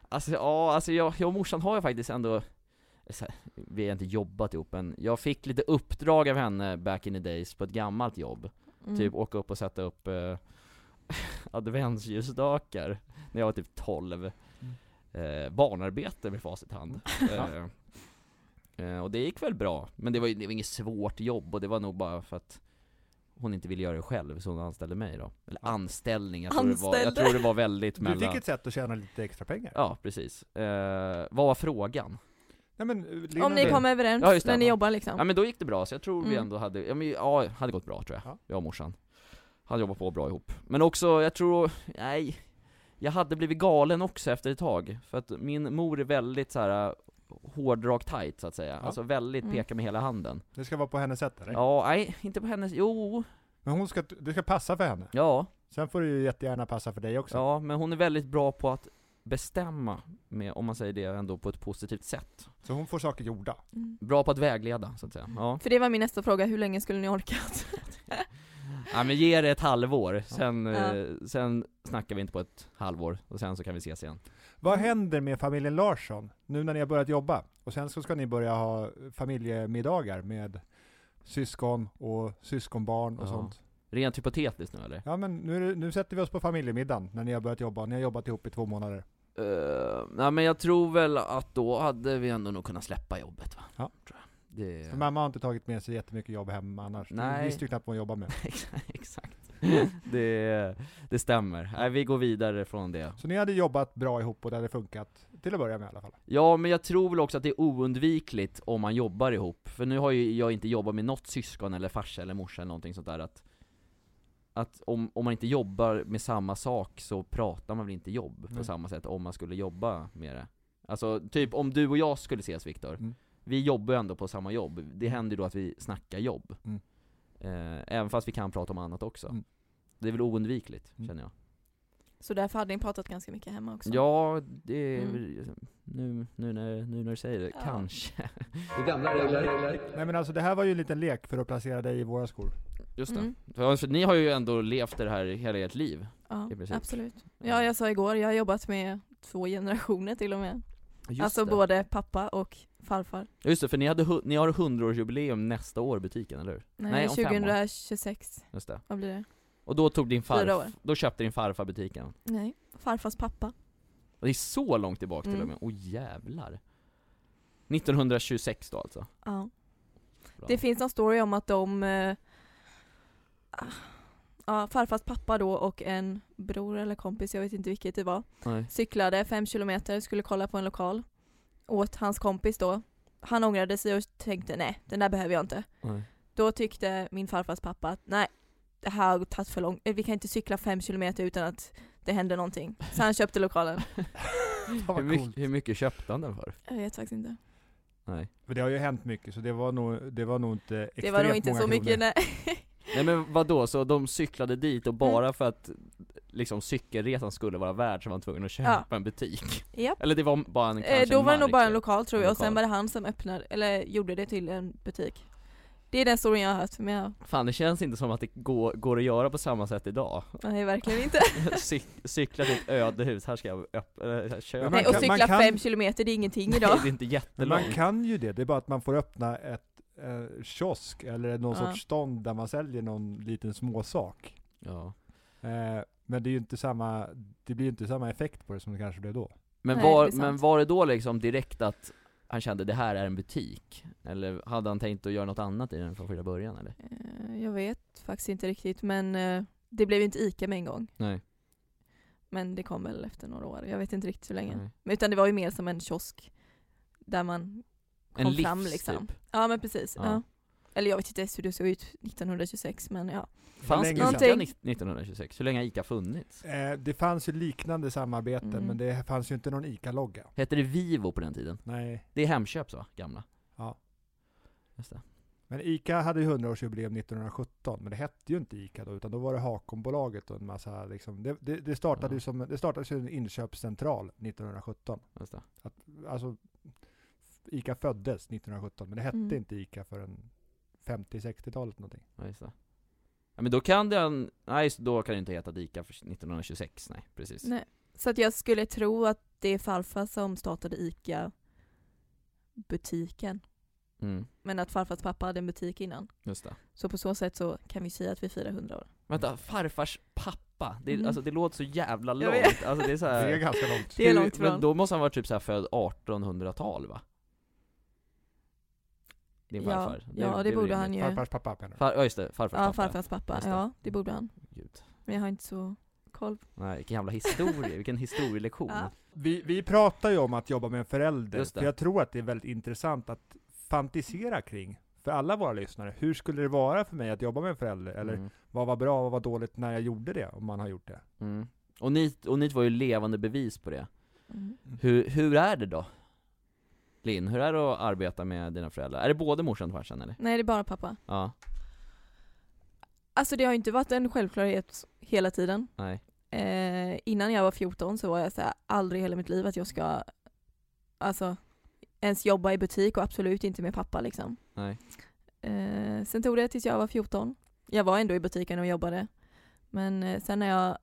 S2: Alltså ja, alltså jag, jag och morsan har ju faktiskt ändå eh, så här, vi har inte jobbat ihop men jag fick lite uppdrag av henne back in the days på ett gammalt jobb.
S3: Mm.
S2: Typ åka upp och sätta upp eh, adventsljusstakar när jag var typ 12.
S1: Mm.
S2: Eh, barnarbete med facit i hand. Eh, eh, och det gick väl bra, men det var ju det var inget svårt jobb och det var nog bara för att hon inte ville göra det själv så hon anställde mig då. Eller anställning, jag tror, det var, jag
S3: Anställde.
S2: tror det var väldigt
S1: Du
S2: mellan...
S1: fick ett sätt att tjäna lite extra pengar?
S2: Ja, precis. Eh, vad var frågan?
S1: Nej, men, eh, Linn
S3: Om ni
S1: undrar-
S3: kommer överens
S2: Ja, just det,
S3: när ni
S2: ja.
S3: jobbar liksom.
S2: Ja men då gick det bra, så jag tror vi
S3: Mm.
S2: ändå hade, ja, men, ja hade gått bra tror jag,
S1: Ja.
S2: jag och morsan. Hade jobbat på bra ihop. Men också, jag tror, nej, jag hade blivit galen också efter ett tag. För att min mor är väldigt så här hårdrak tight så att säga.
S1: Ja.
S2: Alltså väldigt
S3: Mm.
S2: peka med hela handen.
S1: Det ska vara på hennes sätt eller?
S2: Ja, nej, inte på hennes, jo,
S1: Men hon ska, det ska passa för henne.
S2: ja,
S1: Sen får det ju jättegärna passa för dig också.
S2: ja, men hon är väldigt bra på att bestämma, med, om man säger det ändå på ett positivt sätt.
S1: Så hon får saker gjorda.
S3: Mm.
S2: Bra på att vägleda, så att säga. Ja.
S3: För det var min nästa fråga, hur länge skulle ni orka?
S2: Ja men ge det ett halvår, sen,
S3: Ja.
S2: eh, sen snackar vi inte på ett halvår, och sen så kan vi ses igen.
S1: Vad händer med familjen Larsson nu när ni har börjat jobba? Och sen så ska ni börja ha familjemiddagar med syskon och syskonbarn och
S2: Ja.
S1: sånt.
S2: Rent hypotetiskt nu eller?
S1: Ja men nu, är det- nu sätter vi oss på familjemiddagen när ni har börjat jobba. Ni har jobbat ihop i två månader.
S2: Uh, nej men jag tror väl att då hade vi ändå nog kunnat släppa jobbet va?
S1: Ja.
S2: Tror jag. Det...
S1: För mamma har inte tagit med sig jättemycket jobb hem annars.
S2: Nej.
S1: Ni visste ju knappt vad hon jobbar med.
S2: Exakt. det, det stämmer. Nej vi går vidare från det.
S1: Så ni hade jobbat bra ihop och det hade funkat, till att börja med i alla fall.
S2: Ja men jag tror väl också att det är oundvikligt om man jobbar ihop, för nu har ju jag inte jobbat med något syskon eller farsa eller morsa eller någonting sånt där att att om, om man inte jobbar med samma sak så pratar man väl inte jobb på
S1: Nej.
S2: samma sätt om man skulle jobba med det Alltså typ om du och jag skulle ses Viktor,
S1: Mm.
S2: vi jobbar ju ändå på samma jobb, det händer ju då att vi snackar jobb
S1: Mm.
S2: eh, Även fast vi kan prata om annat också
S1: Mm.
S2: Det är väl oundvikligt
S1: Mm.
S2: känner jag
S3: Så därför hade ni pratat ganska mycket hemma också.
S2: Ja, det är
S3: liksom. Mm.
S2: väl- liksom, nu, nu, när, nu när du säger det,
S3: Ja.
S2: kanske
S5: Det är gamla regler.
S1: Nej men alltså det här var ju en liten lek för att placera dig i våra skor.
S2: Just det.
S3: Mm.
S2: För, för ni har ju ändå levt det här hela ert liv.
S3: Ja,
S2: i princip.
S3: absolut. Ja, jag sa igår, jag har jobbat med två generationer till och med.
S2: Just
S3: alltså
S2: det.
S3: både pappa och farfar.
S2: Ja, Just det, för ni, hade, hu- ni har 100-årsjubileum nästa år i butiken, eller hur?
S3: Nej,
S2: Nej, om fem år.
S3: 2026.
S2: Just det.
S3: Vad blir det?
S2: Och då tog din
S3: Fyra
S2: farfar,
S3: år.
S2: då köpte din farfar butiken.
S3: Nej, farfars pappa.
S2: Och det är så långt tillbaka till och
S3: Mm.
S2: med. Åh jävlar. 1926 då alltså.
S3: Ja.
S2: Bra.
S3: Det finns någon story om att de eh, ah, Ja, farfars pappa då och en bror eller kompis, jag vet inte vilket det var,
S2: Nej.
S3: cyklade fem kilometer, skulle kolla på en lokal. Åt hans kompis då, han ångrade sig och tänkte nej, den där behöver jag inte.
S2: Nej.
S3: Då tyckte min farfars pappa att nej, det här har tagit för långt, vi kan inte cykla fem kilometer utan att det händer någonting. Så han köpte lokalen.
S2: Hur,
S1: vad
S2: mycket,
S1: coolt.
S2: hur mycket köpte han den för?
S3: Jag vet faktiskt inte.
S2: Nej.
S1: För det har ju hänt mycket, så det var nog, det var nog inte extremt
S3: Det var nog inte
S1: många
S3: så
S1: kronor.
S3: mycket nej.
S2: Nej men vadå, så de cyklade dit och
S3: Mm.
S2: bara för att liksom cykelresan skulle vara värd så var man tvungen att köpa en butik?
S3: Japp.
S2: Eller det var bara en kanske
S3: Eh, Då
S2: en
S3: var det nog
S2: mark,
S3: bara en
S2: så.
S3: lokal tror
S2: En
S3: jag och sen
S2: lokal.
S3: var det han som öppnade, eller gjorde det till en butik. Det är den storyn jag har hört, men jag,
S2: Fan det känns inte som att det går, går att göra på samma sätt idag
S3: nej verkligen inte.
S2: Cyk, Cykla till ett ödehus, här ska jag öppna, äh, köpa
S1: Men
S3: Nej,
S1: kan-
S3: och
S1: man
S3: cykla
S1: kan-
S3: fem kilometer, det är ingenting
S2: Det
S3: idag.
S2: är inte
S1: Men man
S2: jättelångt
S1: kan ju det, det är bara att man får öppna ett eh, kiosk eller någon
S3: Ja.
S1: sorts stånd där man säljer någon liten småsak.
S2: ja.
S1: Eh, men det är ju inte samma, det blir ju inte samma effekt på det som det kanske blev då.
S2: Men,
S3: Nej, det
S2: var,
S3: är sant.
S2: men var det då liksom direkt att han kände det här är en butik? Eller hade han tänkt att göra något annat i den från första början eller?
S3: Eh, Jag vet faktiskt inte riktigt, men eh, det blev ju inte ICA med en gång.
S2: Nej,
S3: Men det kom väl efter några år, jag vet inte riktigt hur länge.
S2: Nej.
S3: Men Utan det var ju mer som en kiosk där man kom
S2: En livs
S3: fram liksom.
S2: typ
S3: Ja men precis.
S2: Ja.
S3: Ja. Eller jag vet inte ens hur det såg ut 1926 men ja.
S2: Fanns
S1: Hur
S2: ICA
S1: länge
S3: Någonting.
S2: 1926? Hur länge har ICA funnits?
S1: Eh, det fanns ju liknande samarbeten,
S3: Mm.
S1: men det fanns ju inte någon ICA-logga.
S2: Hette det Vivo på den tiden?
S1: Nej.
S2: Det är Hemköps va? Gamla?
S1: Ja.
S2: Just det.
S1: Men ICA hade ju 100-årsjubileum 1917, men det hette ju inte ICA då, utan då var det Hakonbolaget och en massa liksom, det, det, det startade ju
S2: Ja.
S1: som, det startades ju en inköpscentral 1917.
S2: Just det.
S1: Alltså, ICA föddes 1917, men det hette
S3: Mm.
S1: inte ICA förrän 50-60-talet någonting.
S2: Ja, just det. Ja, men då kan den, nej just då kan det inte heta ICA för 1926, nej precis.
S3: Nej. Så att jag skulle tro att det är farfar som startade ICA-butiken.
S2: Mm,
S3: Men att farfars pappa hade en butik innan.
S2: just det.
S3: Så på så sätt så kan vi säga att vi firar 100 år.
S1: Mm.
S2: Vänta, farfars pappa? Det, är-
S3: Mm.
S2: alltså, det låter så jävla
S3: Jag
S2: långt,
S3: vet.
S2: alltså det är så här,
S1: Det är ganska långt.
S3: Det är
S2: Hur-
S3: långt
S2: Men
S3: ifrån.
S2: då måste han vara typ så här född 1800-tal va? Din
S3: Ja,
S2: farfar?
S3: ja, det
S2: är
S3: borde
S2: rimligt.
S3: han ju.
S1: Farfars pappa menar du?
S2: Far, ja just det, farfars
S3: Ja,
S2: pappa.
S3: farfars pappa.
S2: Just det.
S3: Ja, det borde han.
S2: Gud.
S3: Men jag har inte så koll.
S2: Nej, vilken jävla historia, vilken historielektion.
S3: Ja.
S1: Vi, vi pratar ju om att jobba med en förälder,
S2: Just det.
S1: för jag tror att det är väldigt intressant att fantisera kring, för alla våra lyssnare. Hur skulle det vara för mig att jobba med en förälder? Eller
S2: Mm.
S1: vad var bra, vad var dåligt när jag gjorde det, om man har gjort det?
S2: Mm. Och, ni, och ni var ju levande bevis på det.
S3: Mm.
S2: Hur, hur är det då? Linn, hur är det att arbeta med dina föräldrar? Är det både morsan och farsan eller?
S3: Nej, det är bara pappa.
S2: Ja,
S3: Alltså det har ju inte varit en självklarhet hela tiden.
S2: nej.
S3: Eh, innan jag var 14 så var jag så här, aldrig i hela mitt liv att jag ska alltså, ens jobba i butik och absolut inte med pappa liksom.
S2: Nej.
S3: Eh, sen tog det tills jag var 14. Jag var ändå i butiken och jobbade. Men eh, sen när jag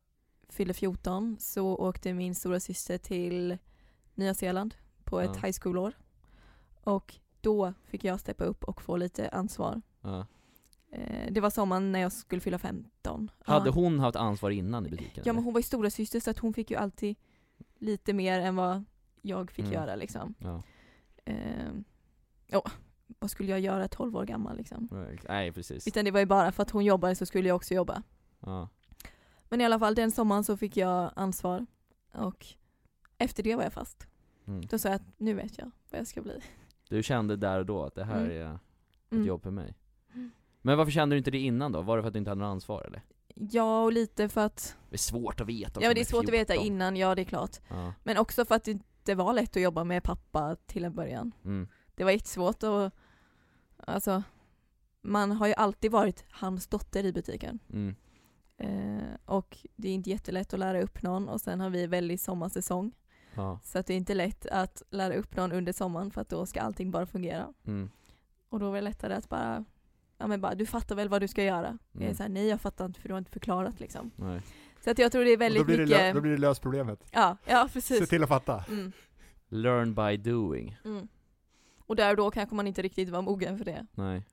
S3: fyllde 14 så åkte min stora syster till Nya Zeeland på ett
S2: Ja.
S3: high school-år. Och då fick jag steppa upp och få lite ansvar.
S2: Ja.
S3: Eh, det var sommaren när jag skulle fylla 15.
S2: Hade
S3: ja.
S2: hon haft ansvar innan i butiken?
S3: ja men hon var ju stora syster så att hon fick ju alltid lite mer än vad jag fick
S2: Mm.
S3: göra liksom.
S2: eller? ja.
S3: Eh, ja, vad skulle jag göra 12 år gammal liksom?
S2: Nej, ex- Nej precis.
S3: Utan det var ju bara för att hon jobbade så skulle jag också jobba.
S2: Ja.
S3: Men i alla fall den sommaren så fick jag ansvar och efter det var jag fast.
S2: Mm.
S3: Då sa jag att nu vet jag vad jag ska bli.
S2: Du kände där och då att det här
S3: Mm.
S2: är ett
S3: Mm.
S2: jobb för mig?
S3: Mm.
S2: Men varför kände du inte det innan då? Var det för att du inte hade något ansvar eller?
S3: Ja och lite för att,
S2: Det är svårt att veta
S3: ja men det är svårt att veta
S2: innan.
S3: innan, ja det är klart.
S2: Ja.
S3: Men också för att det inte var lätt att jobba med pappa till en början.
S2: Mm.
S3: Det var jättesvårt och alltså man har ju alltid varit hans dotter i butiken.
S2: Mm.
S3: Eh, och det är inte jättelätt att lära upp någon och sen har vi väldigt sommarsäsong.
S2: Ja.
S3: Så att det är inte lätt att lära upp någon under sommaren för att då ska allting bara fungera.
S2: Mm.
S3: Och då var det lättare att bara, ja men bara, du fattar väl vad du ska göra? Jag är
S2: Mm.
S3: såhär, nej jag fattar inte för du har inte förklarat liksom.
S2: Nej.
S3: Så att jag tror det är
S1: Och då,
S3: väldigt
S1: blir det lö-
S3: mycket,
S1: då blir det löst problemet.
S3: ja, ja
S1: Se
S3: precis.
S1: till att fatta.
S3: Mm,
S2: Learn by doing.
S3: mm. Och där och då kanske man inte riktigt var mogen för det.
S2: Nej.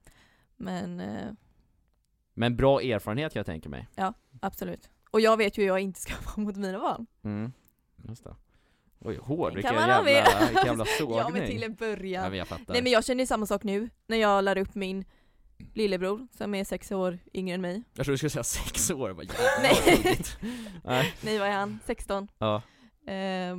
S3: Men eh,
S2: Men bra erfarenhet kan jag tänka mig.
S3: absolut. Och jag vet ju hur jag inte ska vara mot mina barn.
S2: Mm. Just det. Oj, hård.
S3: Den
S2: Vilken
S3: kan man ha
S2: jävla,
S3: med.
S2: vilken jävla sågning.
S3: Ja men till en
S2: ja,
S3: början.
S2: men jag fattar.
S3: Nej men jag känner ju samma sak nu när jag lär upp min lillebror som är sex år yngre än mig.
S2: Jag tror du skulle säga sex år. Jag Bara, jävlar,
S3: Nej.
S2: vad tråkigt. Nej.
S3: Nej vad är han? Ehm, 16?
S2: Ja.
S3: Eh,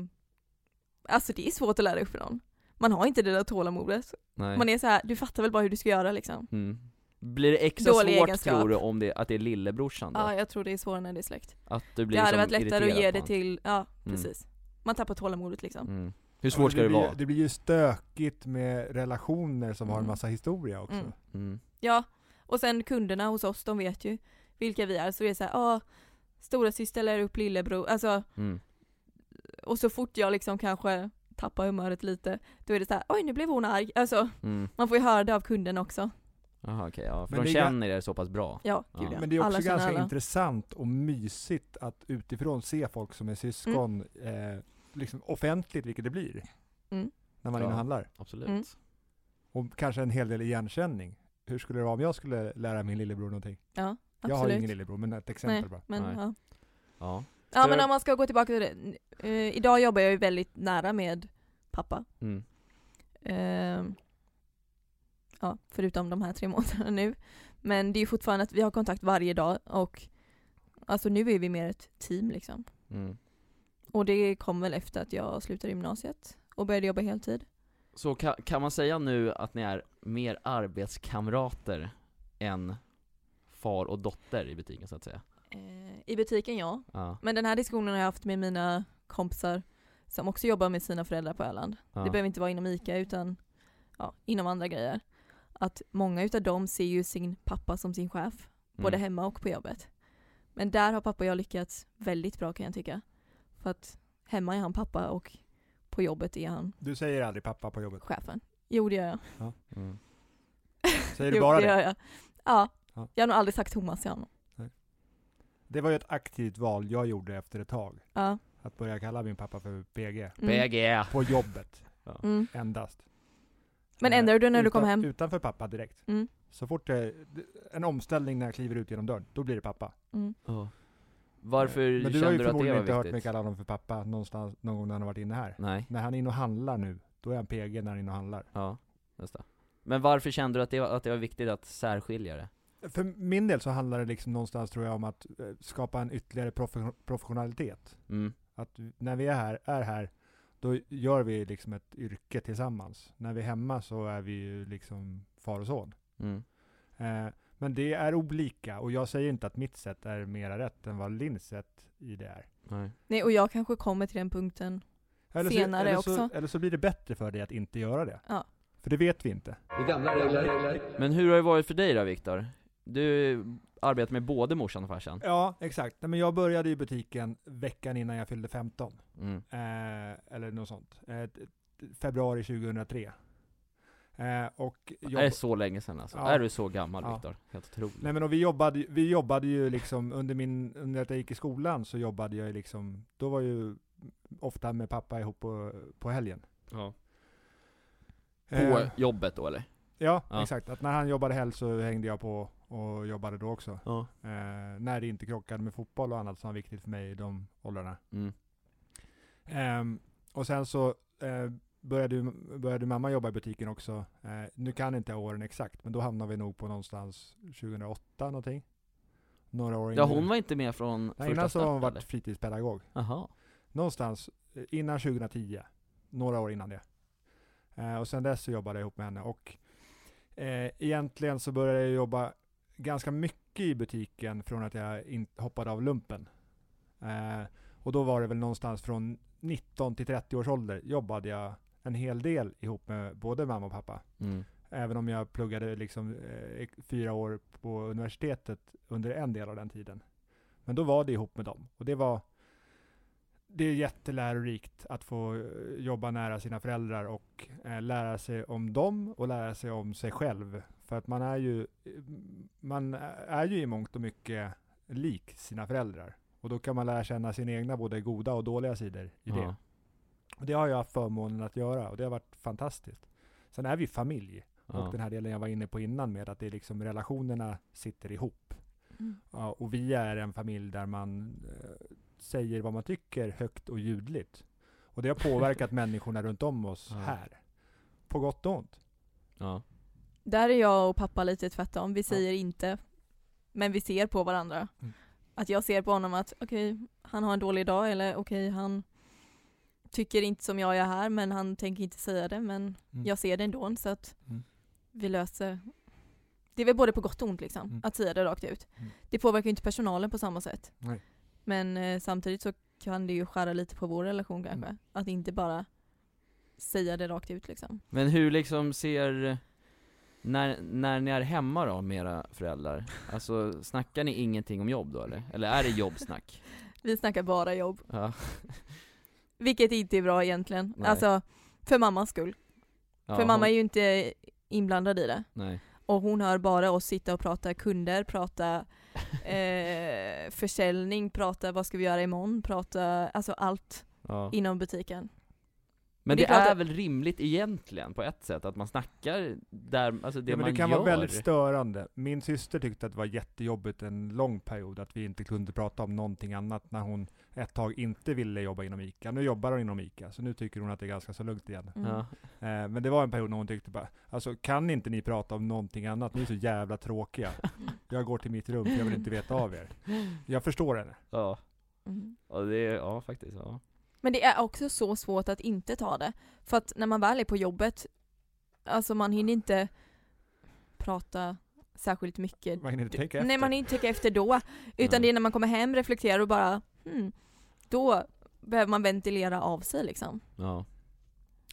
S3: alltså det är svårt att lära upp någon. Man har inte det där tålamodet.
S2: Nej.
S3: Man är så här, du fattar väl bara hur du ska göra liksom.
S2: Mm. Blir det extra
S3: Dålig
S2: svårt
S3: egenskap.
S2: tror du om det, att det är lillebrorsan då?
S3: Ja, jag tror det är svårare när det är släkt.
S2: Att du blir
S3: Det hade
S2: liksom
S3: varit lättare att
S2: irriterad på
S3: ge det
S2: han.
S3: till, ja
S2: Mm.
S3: precis. Man tappar tålamodet liksom.
S2: Mm. Hur svårt ska det
S1: blir,
S2: vara?
S1: Det blir ju stökigt med relationer som har en
S3: Mm.
S1: massa historia också.
S3: Mm.
S2: Mm.
S3: Ja, och sen kunderna hos oss, de vet ju vilka vi är. Så det är så här, ja, storasyster lär upp lillebror. Alltså,
S2: Mm.
S3: och så fort jag liksom kanske tappar humöret lite, då är det så här, oj nu blev hon arg. Alltså,
S2: Mm.
S3: man får ju höra det av kunden också.
S2: Aha, okej, ja. För
S1: Men
S2: de
S1: det är ga-
S2: känner er så pass bra.
S3: Ja, gud
S2: Ja.
S3: ja.
S1: Men det är också
S3: Alla känner
S1: ganska
S3: alla.
S1: intressant och mysigt att utifrån se folk som är syskon eh, liksom offentligt, vilket det blir.
S3: Mm.
S1: När man är
S2: Ja.
S1: inne och handlar.
S2: Absolut.
S3: Mm.
S1: Och kanske en hel del igenkänning. Hur skulle det vara om jag skulle lära min lillebror någonting?
S3: Ja,
S1: Jag har ju
S3: absolut.
S1: ingen lillebror, men ett exempel
S3: Nej,
S1: bara.
S3: men
S2: Nej.
S3: ja.
S2: Ja.
S3: Ja men
S2: Stör-
S3: om man ska gå tillbaka till det. Eh, idag jobbar jag ju väldigt nära med pappa.
S2: Mm.
S3: Ehm, ja, förutom de här tre månaderna nu. Men det är ju fortfarande att vi har kontakt varje dag och alltså nu är vi mer ett team liksom.
S2: Mm.
S3: Och det kom väl efter att jag slutade gymnasiet och började jobba heltid.
S2: Så kan, kan man säga nu att ni är mer arbetskamrater än far och dotter i butiken så att säga?
S3: Eh, I butiken ja,
S2: Ja.
S3: men den här diskussionen har jag haft med mina kompisar som också jobbar med sina föräldrar på Öland.
S2: ja.
S3: Det behöver inte vara inom ICA utan ja, inom andra grejer. Att många utav dem ser ju sin pappa som sin chef, både
S2: mm.
S3: hemma och på jobbet. Men där har pappa och jag lyckats väldigt bra kan jag tycka. För att hemma är han pappa och på jobbet är han
S1: Du säger aldrig pappa på jobbet.
S3: chefen. Jo det gör jag.
S2: Mm.
S1: Säger du
S3: jo,
S1: bara
S3: det?
S1: det?
S3: Gör jag. Ja.
S1: Ja.
S3: Jag har nog aldrig sagt Thomas till honom.
S1: Det var ju ett aktivt val jag gjorde efter ett tag.
S3: Ja.
S1: Att börja kalla min pappa för PG.
S3: Mm.
S2: PG!
S1: På jobbet,
S3: Mm.
S1: endast.
S3: Men
S1: Eh,
S3: ändrar du när du
S1: utan-
S3: kom hem?
S1: Utanför pappa direkt.
S3: Mm.
S1: Så fort det, det- en omställning när jag kliver ut genom dörren, då blir det pappa. Eh,
S3: Mm.
S2: Ja. Varför
S1: Men du har
S2: kände
S1: ju
S2: du att det
S1: förmodligen
S2: var
S1: inte hört
S2: viktigt?
S1: mig kalla honom för pappa någonstans, någon gång när han har varit inne här.
S2: Nej,
S1: När han är inne och handlar nu, då är han PG när han är inne och handlar.
S2: ja, just det. Men varför kände du att det var, att det var viktigt att särskilja det?
S1: För min del så handlar det liksom någonstans tror jag om att eh, skapa en ytterligare profe- professionalitet.
S2: Mm.
S1: Att när vi är här, är här, då gör vi liksom ett yrke tillsammans. När vi är hemma så är vi ju liksom far och son.
S2: Mm.
S1: Eh, men det är olika och jag säger inte att mitt sätt är mera rätt än vad Linns sätt i det är.
S2: Nej.
S3: Nej och jag kanske kommer till den punkten. Senare
S1: så, eller så,
S3: också.
S1: Eller så blir det bättre för dig att inte göra det.
S3: Ja.
S1: För det vet vi inte.
S5: Det gamla regler gäller.
S2: Men hur har det varit för dig då Viktor? Du arbetar med både morsan och farsan?
S1: Ja, exakt. Nej, men jag började i butiken veckan innan jag fyllde 15.
S2: Mm.
S1: Eh, eller något sånt. Eh, t- t- februari 2003. Eh, och
S2: Är det
S1: jobb-
S2: så länge sedan alltså?
S1: Ja.
S2: Är du så gammal
S1: Ja.
S2: Viktor? Helt otroligt.
S1: Nej men och vi jobbade, ju- vi jobbade ju liksom under min, under att jag gick i skolan så jobbade jag ju liksom, då var ju ofta med pappa ihop på, på helgen.
S2: Ja. På
S1: Eh,
S2: jobbet då eller?
S1: ja,
S2: Ja.
S1: exakt. Att när han jobbade helg så hängde jag på och jobbade då också.
S2: Ja.
S1: Eh, när det inte krockade med fotboll och annat som var viktigt för mig i de åldrarna.
S2: Mm.
S1: Ehm, och sen så eh, började, ju- började mamma jobba i butiken också. Eh, nu kan inte jag åren exakt, men då hamnar vi nog på någonstans 2008 någonting. Några år
S2: Ja
S1: innan.
S2: hon var inte med från första
S1: Nej, innan så har hon
S2: start,
S1: varit
S2: eller?
S1: fritidspedagog.
S2: Jaha.
S1: Någonstans eh, innan 2010. Några år innan det. Eh, och sen dess så jobbade jag ihop med henne och eh, egentligen så började jag jobba ganska mycket i butiken från att jag in, hoppade av lumpen. Eh, och då var det väl någonstans från 19 till 30 års ålder jobbade jag en hel del ihop med både mamma och pappa.
S2: Mm.
S1: Även om jag pluggade liksom, eh, fyra år på universitetet under en del av den tiden. Men då var det ihop med dem. Och det var det är jättelärorikt att få eh, jobba nära sina föräldrar och eh, lära sig om dem och lära sig om sig själv. För att man är ju, eh, man är ju i mångt och mycket lik sina föräldrar. Och då kan man lära känna sina egna både goda och dåliga sidor i det.
S2: Ja.
S1: Och det har jag haft förmånen att göra och det har varit fantastiskt. Sen är vi familj och
S2: Ja.
S1: den här delen jag var inne på innan med att det är liksom relationerna sitter ihop.
S3: Mm.
S1: Ja, och vi är en familj där man eh, säger vad man tycker högt och ljudligt. Och det har påverkat människorna runt om oss
S2: Ja.
S1: här. På gott och ont.
S2: Ja.
S3: Där är jag och pappa lite tvärtom. Vi säger inte, men vi ser på varandra.
S1: Mm.
S3: Att jag ser på honom att okej, han har en dålig dag eller okej, han tycker inte som jag gör här men han tänker inte säga det men
S1: Mm.
S3: jag ser det ändå så att
S1: Mm.
S3: vi löser Det är väl både på gott och ont liksom,
S1: Mm.
S3: att säga det rakt ut.
S1: Mm.
S3: Det påverkar ju inte personalen på samma sätt.
S1: Nej.
S3: Men eh, samtidigt så kan det ju skära lite på vår relation
S1: Mm.
S3: kanske. Att inte bara säga det rakt ut liksom.
S2: Men hur liksom ser, när, när ni är hemma då med era föräldrar, alltså snackar ni ingenting om jobb då eller? Eller är det jobbsnack?
S3: Vi snackar bara jobb.
S2: Ja,
S3: Vilket inte är bra egentligen.
S2: Nej.
S3: Alltså, för mammas skull.
S2: ja,
S3: för mamma
S2: hon-
S3: är ju inte inblandad i det.
S2: Nej,
S3: Och hon hör bara oss sitta och prata kunder, prata eh, försäljning, prata vad ska vi göra imorgon, prata alltså allt
S2: ja.
S3: inom butiken.
S2: Men
S3: det
S2: det,
S3: är klart
S2: är
S3: att-
S2: väl rimligt egentligen på ett sätt att man snackar där, alltså det
S1: ja, men
S2: man
S1: det kan
S2: gör
S1: vara väldigt störande. Min syster tyckte att det var jättejobbigt en lång period, att vi inte kunde prata om någonting annat när hon ett tag inte ville jobba inom ICA. Nu jobbar hon inom ICA, så nu tycker hon att det är ganska så lugnt igen.
S3: Mm.
S2: ja.
S1: Eh, men det var en period när hon tyckte bara, alltså kan inte ni prata om någonting annat? Ni är så jävla tråkiga. Jag går till mitt rum, för jag vill inte veta av er.
S2: Mm.
S1: Jag förstår henne.
S2: ja,
S3: Mm.
S2: ja, det är, ja faktiskt, ja.
S3: Men det är också så svårt att inte ta det. För att när man väl är på jobbet, alltså man hinner inte prata särskilt mycket.
S1: Man hinner inte tänka efter.
S3: Nej man hinner inte tänka efter då. Utan
S2: Nej.
S3: det är när man kommer hem, reflekterar och bara hmm, då behöver man ventilera av sig liksom.
S2: Ja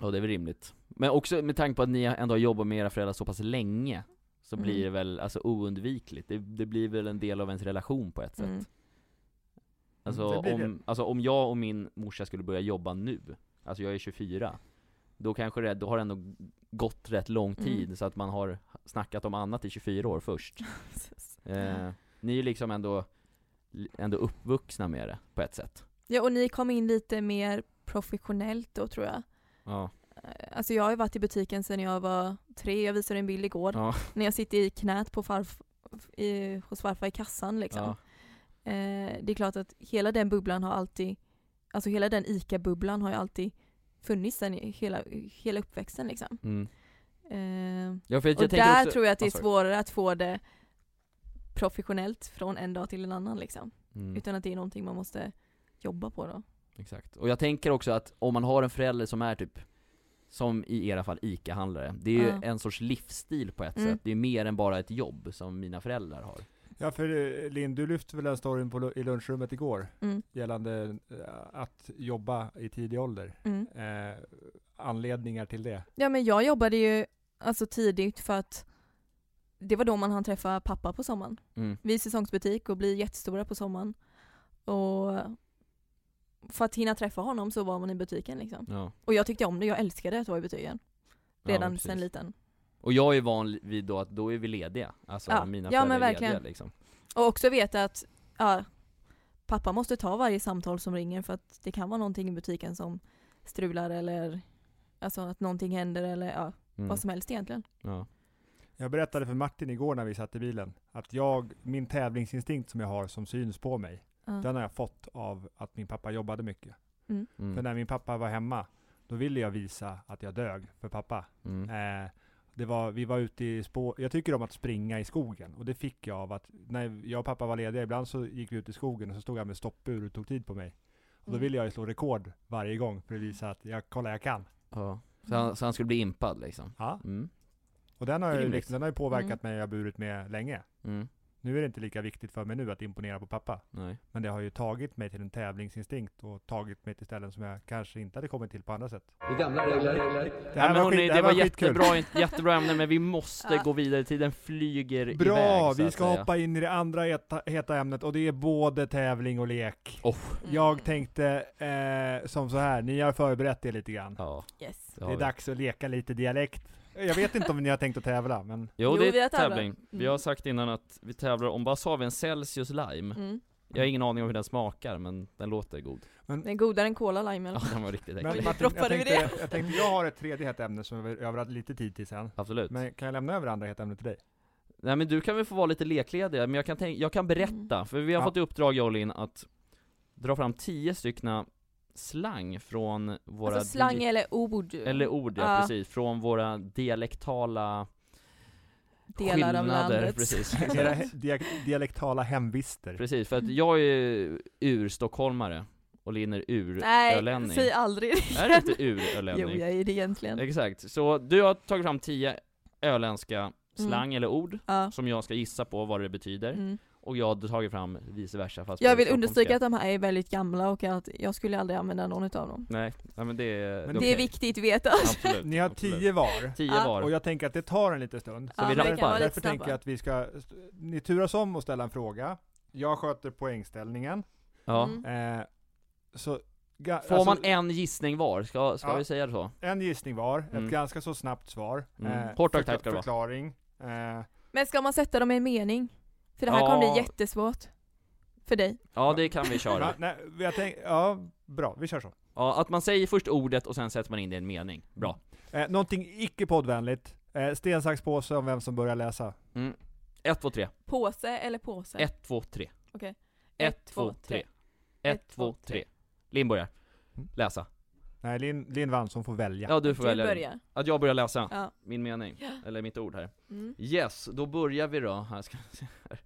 S2: Ja det är väl rimligt Men också med tanke på att ni ändå har jobbat med era föräldrar så pass länge Så
S3: Mm.
S2: blir det väl, alltså oundvikligt det, det blir väl en del av ens relation på ett sätt
S3: Mm.
S2: alltså,
S1: Det blir
S2: om, alltså om jag och min morsa skulle börja jobba nu Alltså jag är 24 Då kanske det, då har det ändå gått rätt lång tid
S3: Mm.
S2: så att man har snackat om annat i 24 år först eh, Ni är ju liksom ändå, ändå uppvuxna med det på ett sätt
S3: Ja och ni kom in lite mer professionellt då tror jag.
S2: Ja,
S3: Eh, Alltså jag har ju varit i butiken sedan jag var tre, jag visade en bild igår.
S2: ja,
S3: När jag sitter i knät på farf, i, hos farfar i kassan liksom.
S2: ja,
S3: Eh, det är klart att hela den bubblan har alltid, alltså hela den ICA-bubblan har ju alltid funnits sen i hela, hela uppväxten liksom.
S2: mm.
S3: Eh,
S2: ja för jag,
S3: och
S2: jag tänker
S3: där
S2: också,
S3: tror jag att det är
S2: Ah, sorry.
S3: svårare att få det professionellt från en dag till en annan liksom.
S2: Mm.
S3: Utan att det är någonting man måste jobba på då.
S2: Exakt. Och jag tänker också att om man har en förälder som är typ, som i era fall ICA-handlare, det är ju
S3: Ja.
S2: en sorts livsstil på ett
S3: Mm.
S2: sätt, det är mer än bara ett jobb som mina föräldrar har.
S1: Ja, för eh, Linn, du lyfte väl den storyn på, lu- i lunchrummet igår,
S3: Mm.
S1: gällande eh, att jobba i tidig ålder.
S3: Mm.
S1: Eh, anledningar till det.
S3: Ja men jag jobbade ju alltså tidigt för att det var då man hann träffa pappa på sommaren.
S2: Mm.
S3: Vi är säsongsbutik och blir jättestora på sommaren. Och för att hinna träffa honom så var man i butiken liksom.
S2: Ja.
S3: Och jag tyckte om det, jag älskade att vara i butiken.
S2: Ja,
S3: Redan
S2: men
S3: sen
S2: precis.
S3: liten.
S2: Och jag är van vid då att då är vi lediga, alltså
S3: Ja.
S2: mina
S3: Ja, men
S2: föräldrar är
S3: verkligen.
S2: lediga liksom.
S3: Och också veta att ja, pappa måste ta varje samtal som ringer för att det kan vara någonting i butiken som strular eller alltså att någonting händer eller ja,
S2: Mm.
S3: vad som helst egentligen.
S2: Ja.
S1: Jag berättade för Martin igår när vi satt i bilen, att jag, min tävlingsinstinkt som jag har, som syns på mig,
S3: Ja. Mm.
S1: den har jag fått av att min pappa jobbade mycket. För
S2: Mm.
S1: när min pappa var hemma, då ville jag visa att jag dög för pappa.
S2: Mm.
S1: Eh, det var, vi var ute i spå, jag tycker om att springa i skogen och det fick jag av att när jag och pappa var lediga ibland så gick vi ut i skogen och så stod han med stoppur och tog tid på mig. Och då
S3: Mm.
S1: ville jag ju slå rekord varje gång för att visa att jag, kolla jag kan.
S2: Ja. Så, han, så han skulle bli impad liksom.
S1: Ja.
S2: Mm.
S1: Och den har,
S2: Det är
S1: ju,
S2: rimligt.
S1: liksom, den har ju påverkat
S3: Mm.
S1: mig och jag har burit med länge.
S2: Mm.
S1: Nu är det inte lika viktigt för mig nu att imponera på pappa.
S2: Nej.
S1: Men det har ju tagit mig till en tävlingsinstinkt och tagit mig till ställen som jag kanske inte hade kommit till på andra sätt.
S5: gamla regler.
S1: Det här
S2: men
S1: var,
S2: hörni,
S1: skit, det
S2: det
S1: här var,
S2: var
S1: skitkul.
S2: jättebra, jättebra ämne men vi måste
S3: Ja.
S2: gå vidare, tiden flyger iväg
S1: Bra!
S2: så
S1: Vi
S2: att
S1: ska
S2: säga.
S1: hoppa in i det andra heta, heta ämnet och det är både tävling och lek.
S2: Oh.
S3: Mm.
S1: Jag tänkte eh, som så här, ni har förberett er lite grann.
S2: Ja,
S3: Yes.
S2: det har
S1: det är
S2: vi.
S1: dags att leka lite dialekt. Jag vet inte om ni har tänkt att tävla, men
S2: Jo,
S3: Jo, vi
S2: det
S3: har
S2: är
S3: tävlat.
S2: tävling. Vi
S3: Mm.
S2: har sagt innan att vi tävlar om, vad sa vi, en Celsius lime?
S3: Mm.
S2: Jag har ingen aning om hur den smakar men den låter god.
S3: Den är godare än Cola Lime
S2: Ja
S3: eller?
S2: den var riktigt
S1: men
S2: äcklig.
S1: Martin, jag,
S3: droppade vi
S1: tänkte, jag tänkte, jag har ett tredje hett ämne som jag överallt lite tid till sen.
S2: Absolut.
S1: Men kan jag lämna över andra hett ämne till dig?
S2: Nej men du kan väl få vara lite lekledig, men jag kan, tänk- jag kan
S3: Mm.
S2: berätta, för vi har
S1: Ja.
S2: fått i uppdrag jag och Linn att dra fram tio styckna slang från våra
S3: Alltså slang
S2: di-
S3: eller ord.
S2: eller ord, ja,
S3: Ja.
S2: precis, från våra dialektala
S3: delar av
S2: skillnader,
S3: landet.
S2: precis.
S1: Era he- dia- dialektala hemvister.
S2: Precis, för att jag är ju urstockholmare och linner ur ölänning.
S3: Nej, säg aldrig
S2: Är det inte ur ölänning?
S3: Jo, jag är det egentligen.
S2: Exakt, så du har tagit fram tio öländska slang
S3: Mm.
S2: eller ord
S3: Ja.
S2: som jag ska gissa på vad det betyder
S3: Mm.
S2: och jag har tagit fram vice versa fast
S3: Jag
S2: på
S3: vill
S2: stockholmska.
S3: understryka att de här är väldigt gamla och att jag skulle aldrig använda någon av dem.
S2: Nej, nej men det är
S1: Men
S3: Det
S2: okej.
S3: är viktigt att veta.
S2: Absolut,
S1: Ni har
S2: absolut.
S1: tio var.
S2: Tio
S3: Ja.
S2: var.
S1: Och jag tänker att det tar en liten stund.
S2: vi
S3: men det kan
S2: rappar.
S3: vara lite
S1: Därför tänker
S3: snabbare.
S1: jag att vi ska, ni turas om och ställa en fråga. Jag sköter poängställningen.
S2: ja.
S3: Mm.
S1: Eh, så, ga,
S2: Får
S1: alltså,
S2: man en gissning var? Ska, ska
S1: Ja.
S2: vi säga så?
S1: en gissning var, ett
S2: Mm.
S1: ganska så snabbt svar. Eh,
S2: Mm. Kort och tajt ska det vara.
S1: Förklaring. Eh,
S3: Men ska man sätta dem i en mening? För det här
S2: Ja.
S3: kommer bli jättesvårt. För dig.
S2: Ja det kan vi
S1: ja,
S2: köra.
S1: nej, jag tänk, ja, bra, vi kör så.
S2: Ja, att man säger först ordet och sen sätter man in det i en mening. Bra.
S1: Eh, någonting icke poddvänligt. Eh, sten, sax, påse om vem som börjar läsa.
S2: Mm. Ett, två, tre.
S3: Påse eller påse?
S2: Ett, två, tre.
S3: Okej.
S2: Ett, två, tre. Ett, två, tre. Linn börjar.
S1: Mm.
S2: Läsa.
S1: Nej, Linn Lin vann som får välja.
S2: Ja du får
S3: Du
S2: välja.
S3: börjar.
S2: Att jag börjar läsa
S3: Ja.
S2: min mening,
S3: Ja.
S2: eller mitt ord här.
S3: Mm.
S2: Yes, då börjar vi då. Här ska vi se här.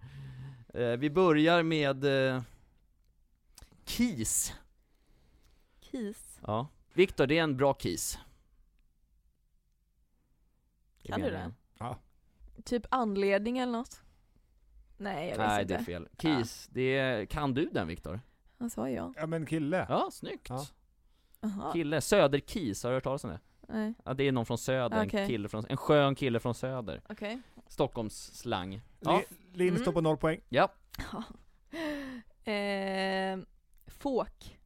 S2: Eh, Vi börjar med eh, KIS.
S3: Kis.
S2: Ja. Viktor, det är en bra KIS. Det
S3: Kan du
S2: menar jag.
S3: det?
S1: Ja.
S3: Typ anledning eller något? Nej, jag vet
S2: Nej, det
S3: inte.
S2: är fel. KIS, det är, kan du den Viktor?
S3: Han sa ja.
S1: Ja men kille.
S2: Ja, snyggt.
S1: Ja.
S3: Aha.
S2: Kille, Söder-KIS, har du hört talas om det?
S3: Nej,
S2: Ja, det är någon från Söder, en,
S3: Okej.
S2: kille från, en skön kille från Söder.
S3: okej.
S2: Stockholms slang. Ja.
S1: Li- Linn
S3: Mm.
S1: står på noll poäng.
S2: Ja.
S3: Ehm, fåk.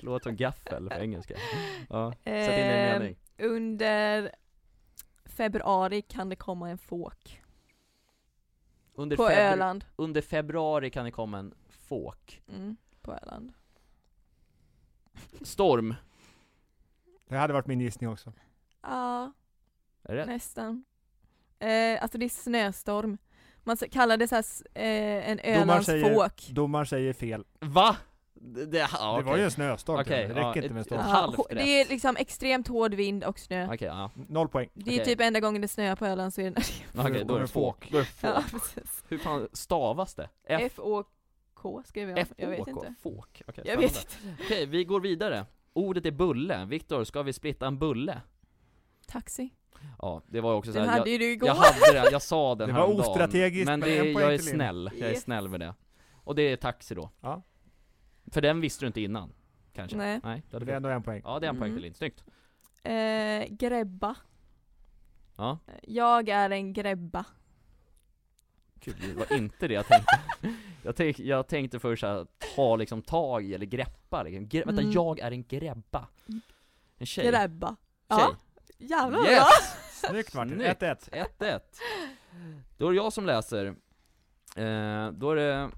S2: Låter som gaffel på engelska. Ja. Sätt in en
S3: Ehm,
S2: mening.
S3: Under februari kan det komma en fåk.
S2: Under,
S3: på
S2: febru-
S3: Öland.
S2: under februari kan det komma en fåk.
S3: Mm, på Öland.
S2: Storm.
S1: Det hade varit min gissning också.
S3: Ja,
S2: Är det rätt?
S3: nästan. Eh, alltså det är snöstorm. Man s- kallar det så här, s- eh, en Ölandsfåk.
S1: Domaren säger fel.
S2: Va? Det, det, ja,
S1: Det var ju en
S2: okej.
S1: snöstorm.
S2: Okej,
S1: det
S2: ja,
S1: räcker inte med en
S2: ett-
S1: storm.
S2: ett-
S3: Ja,
S2: halvt
S3: hå-
S2: rätt.
S3: det är liksom extremt hård vind och snö.
S2: Okej, ja.
S1: Noll poäng.
S3: Det är
S2: okej.
S3: typ enda gången det snöar på Öland så är det
S2: Okej,
S1: Då är
S2: då är
S1: det
S2: det fåk. Då är det fåk.
S3: Ja, precis.
S2: Hur fan stavas det? F-
S3: F-Å-K skrev jag. Jag vet
S2: F-Å-K.
S3: inte.
S2: Fåk. Okej,
S3: Jag vet
S2: spännande.
S3: inte.
S2: Okej, vi går vidare. Ordet är bulle. Viktor, ska vi splitta en bulle?
S3: Taxi.
S2: Ja, det var ju också så
S3: Den
S2: här,
S3: hade
S2: jag,
S3: ju du igår.
S2: jag hade den, jag sa den
S1: Det var
S2: häromdagen.
S1: ostrategiskt,
S2: Men
S1: men
S2: det,
S1: en poäng
S2: jag är
S1: till in.
S2: snäll, jag är
S3: Yes.
S2: snäll med det. Och det är taxi då.
S1: Ja.
S2: För den visste du inte innan, kanske?
S3: Nej.
S2: Nej, det hade
S1: Det är
S2: fel.
S1: ändå en poäng.
S2: Ja, det är en poäng
S3: Mm.
S2: till Linn. Snyggt.
S3: Eh, gräbba.
S2: Ja.
S3: Jag är en gräbba.
S2: Kul, det var inte det jag tänkte. Jag, tänk, jag tänkte först såhär, ta liksom tag i eller greppa liksom. Gre- Vänta,
S3: Mm.
S2: jag är en grebba. En tjej.
S3: Gräbba.
S2: tjej.
S3: Ja, jävlar vad bra.
S2: Yes!
S1: Snyggt Martin,
S2: Snyggt.
S1: 1-1.
S2: 1-1. Då är det jag som läser. Eh, då är det...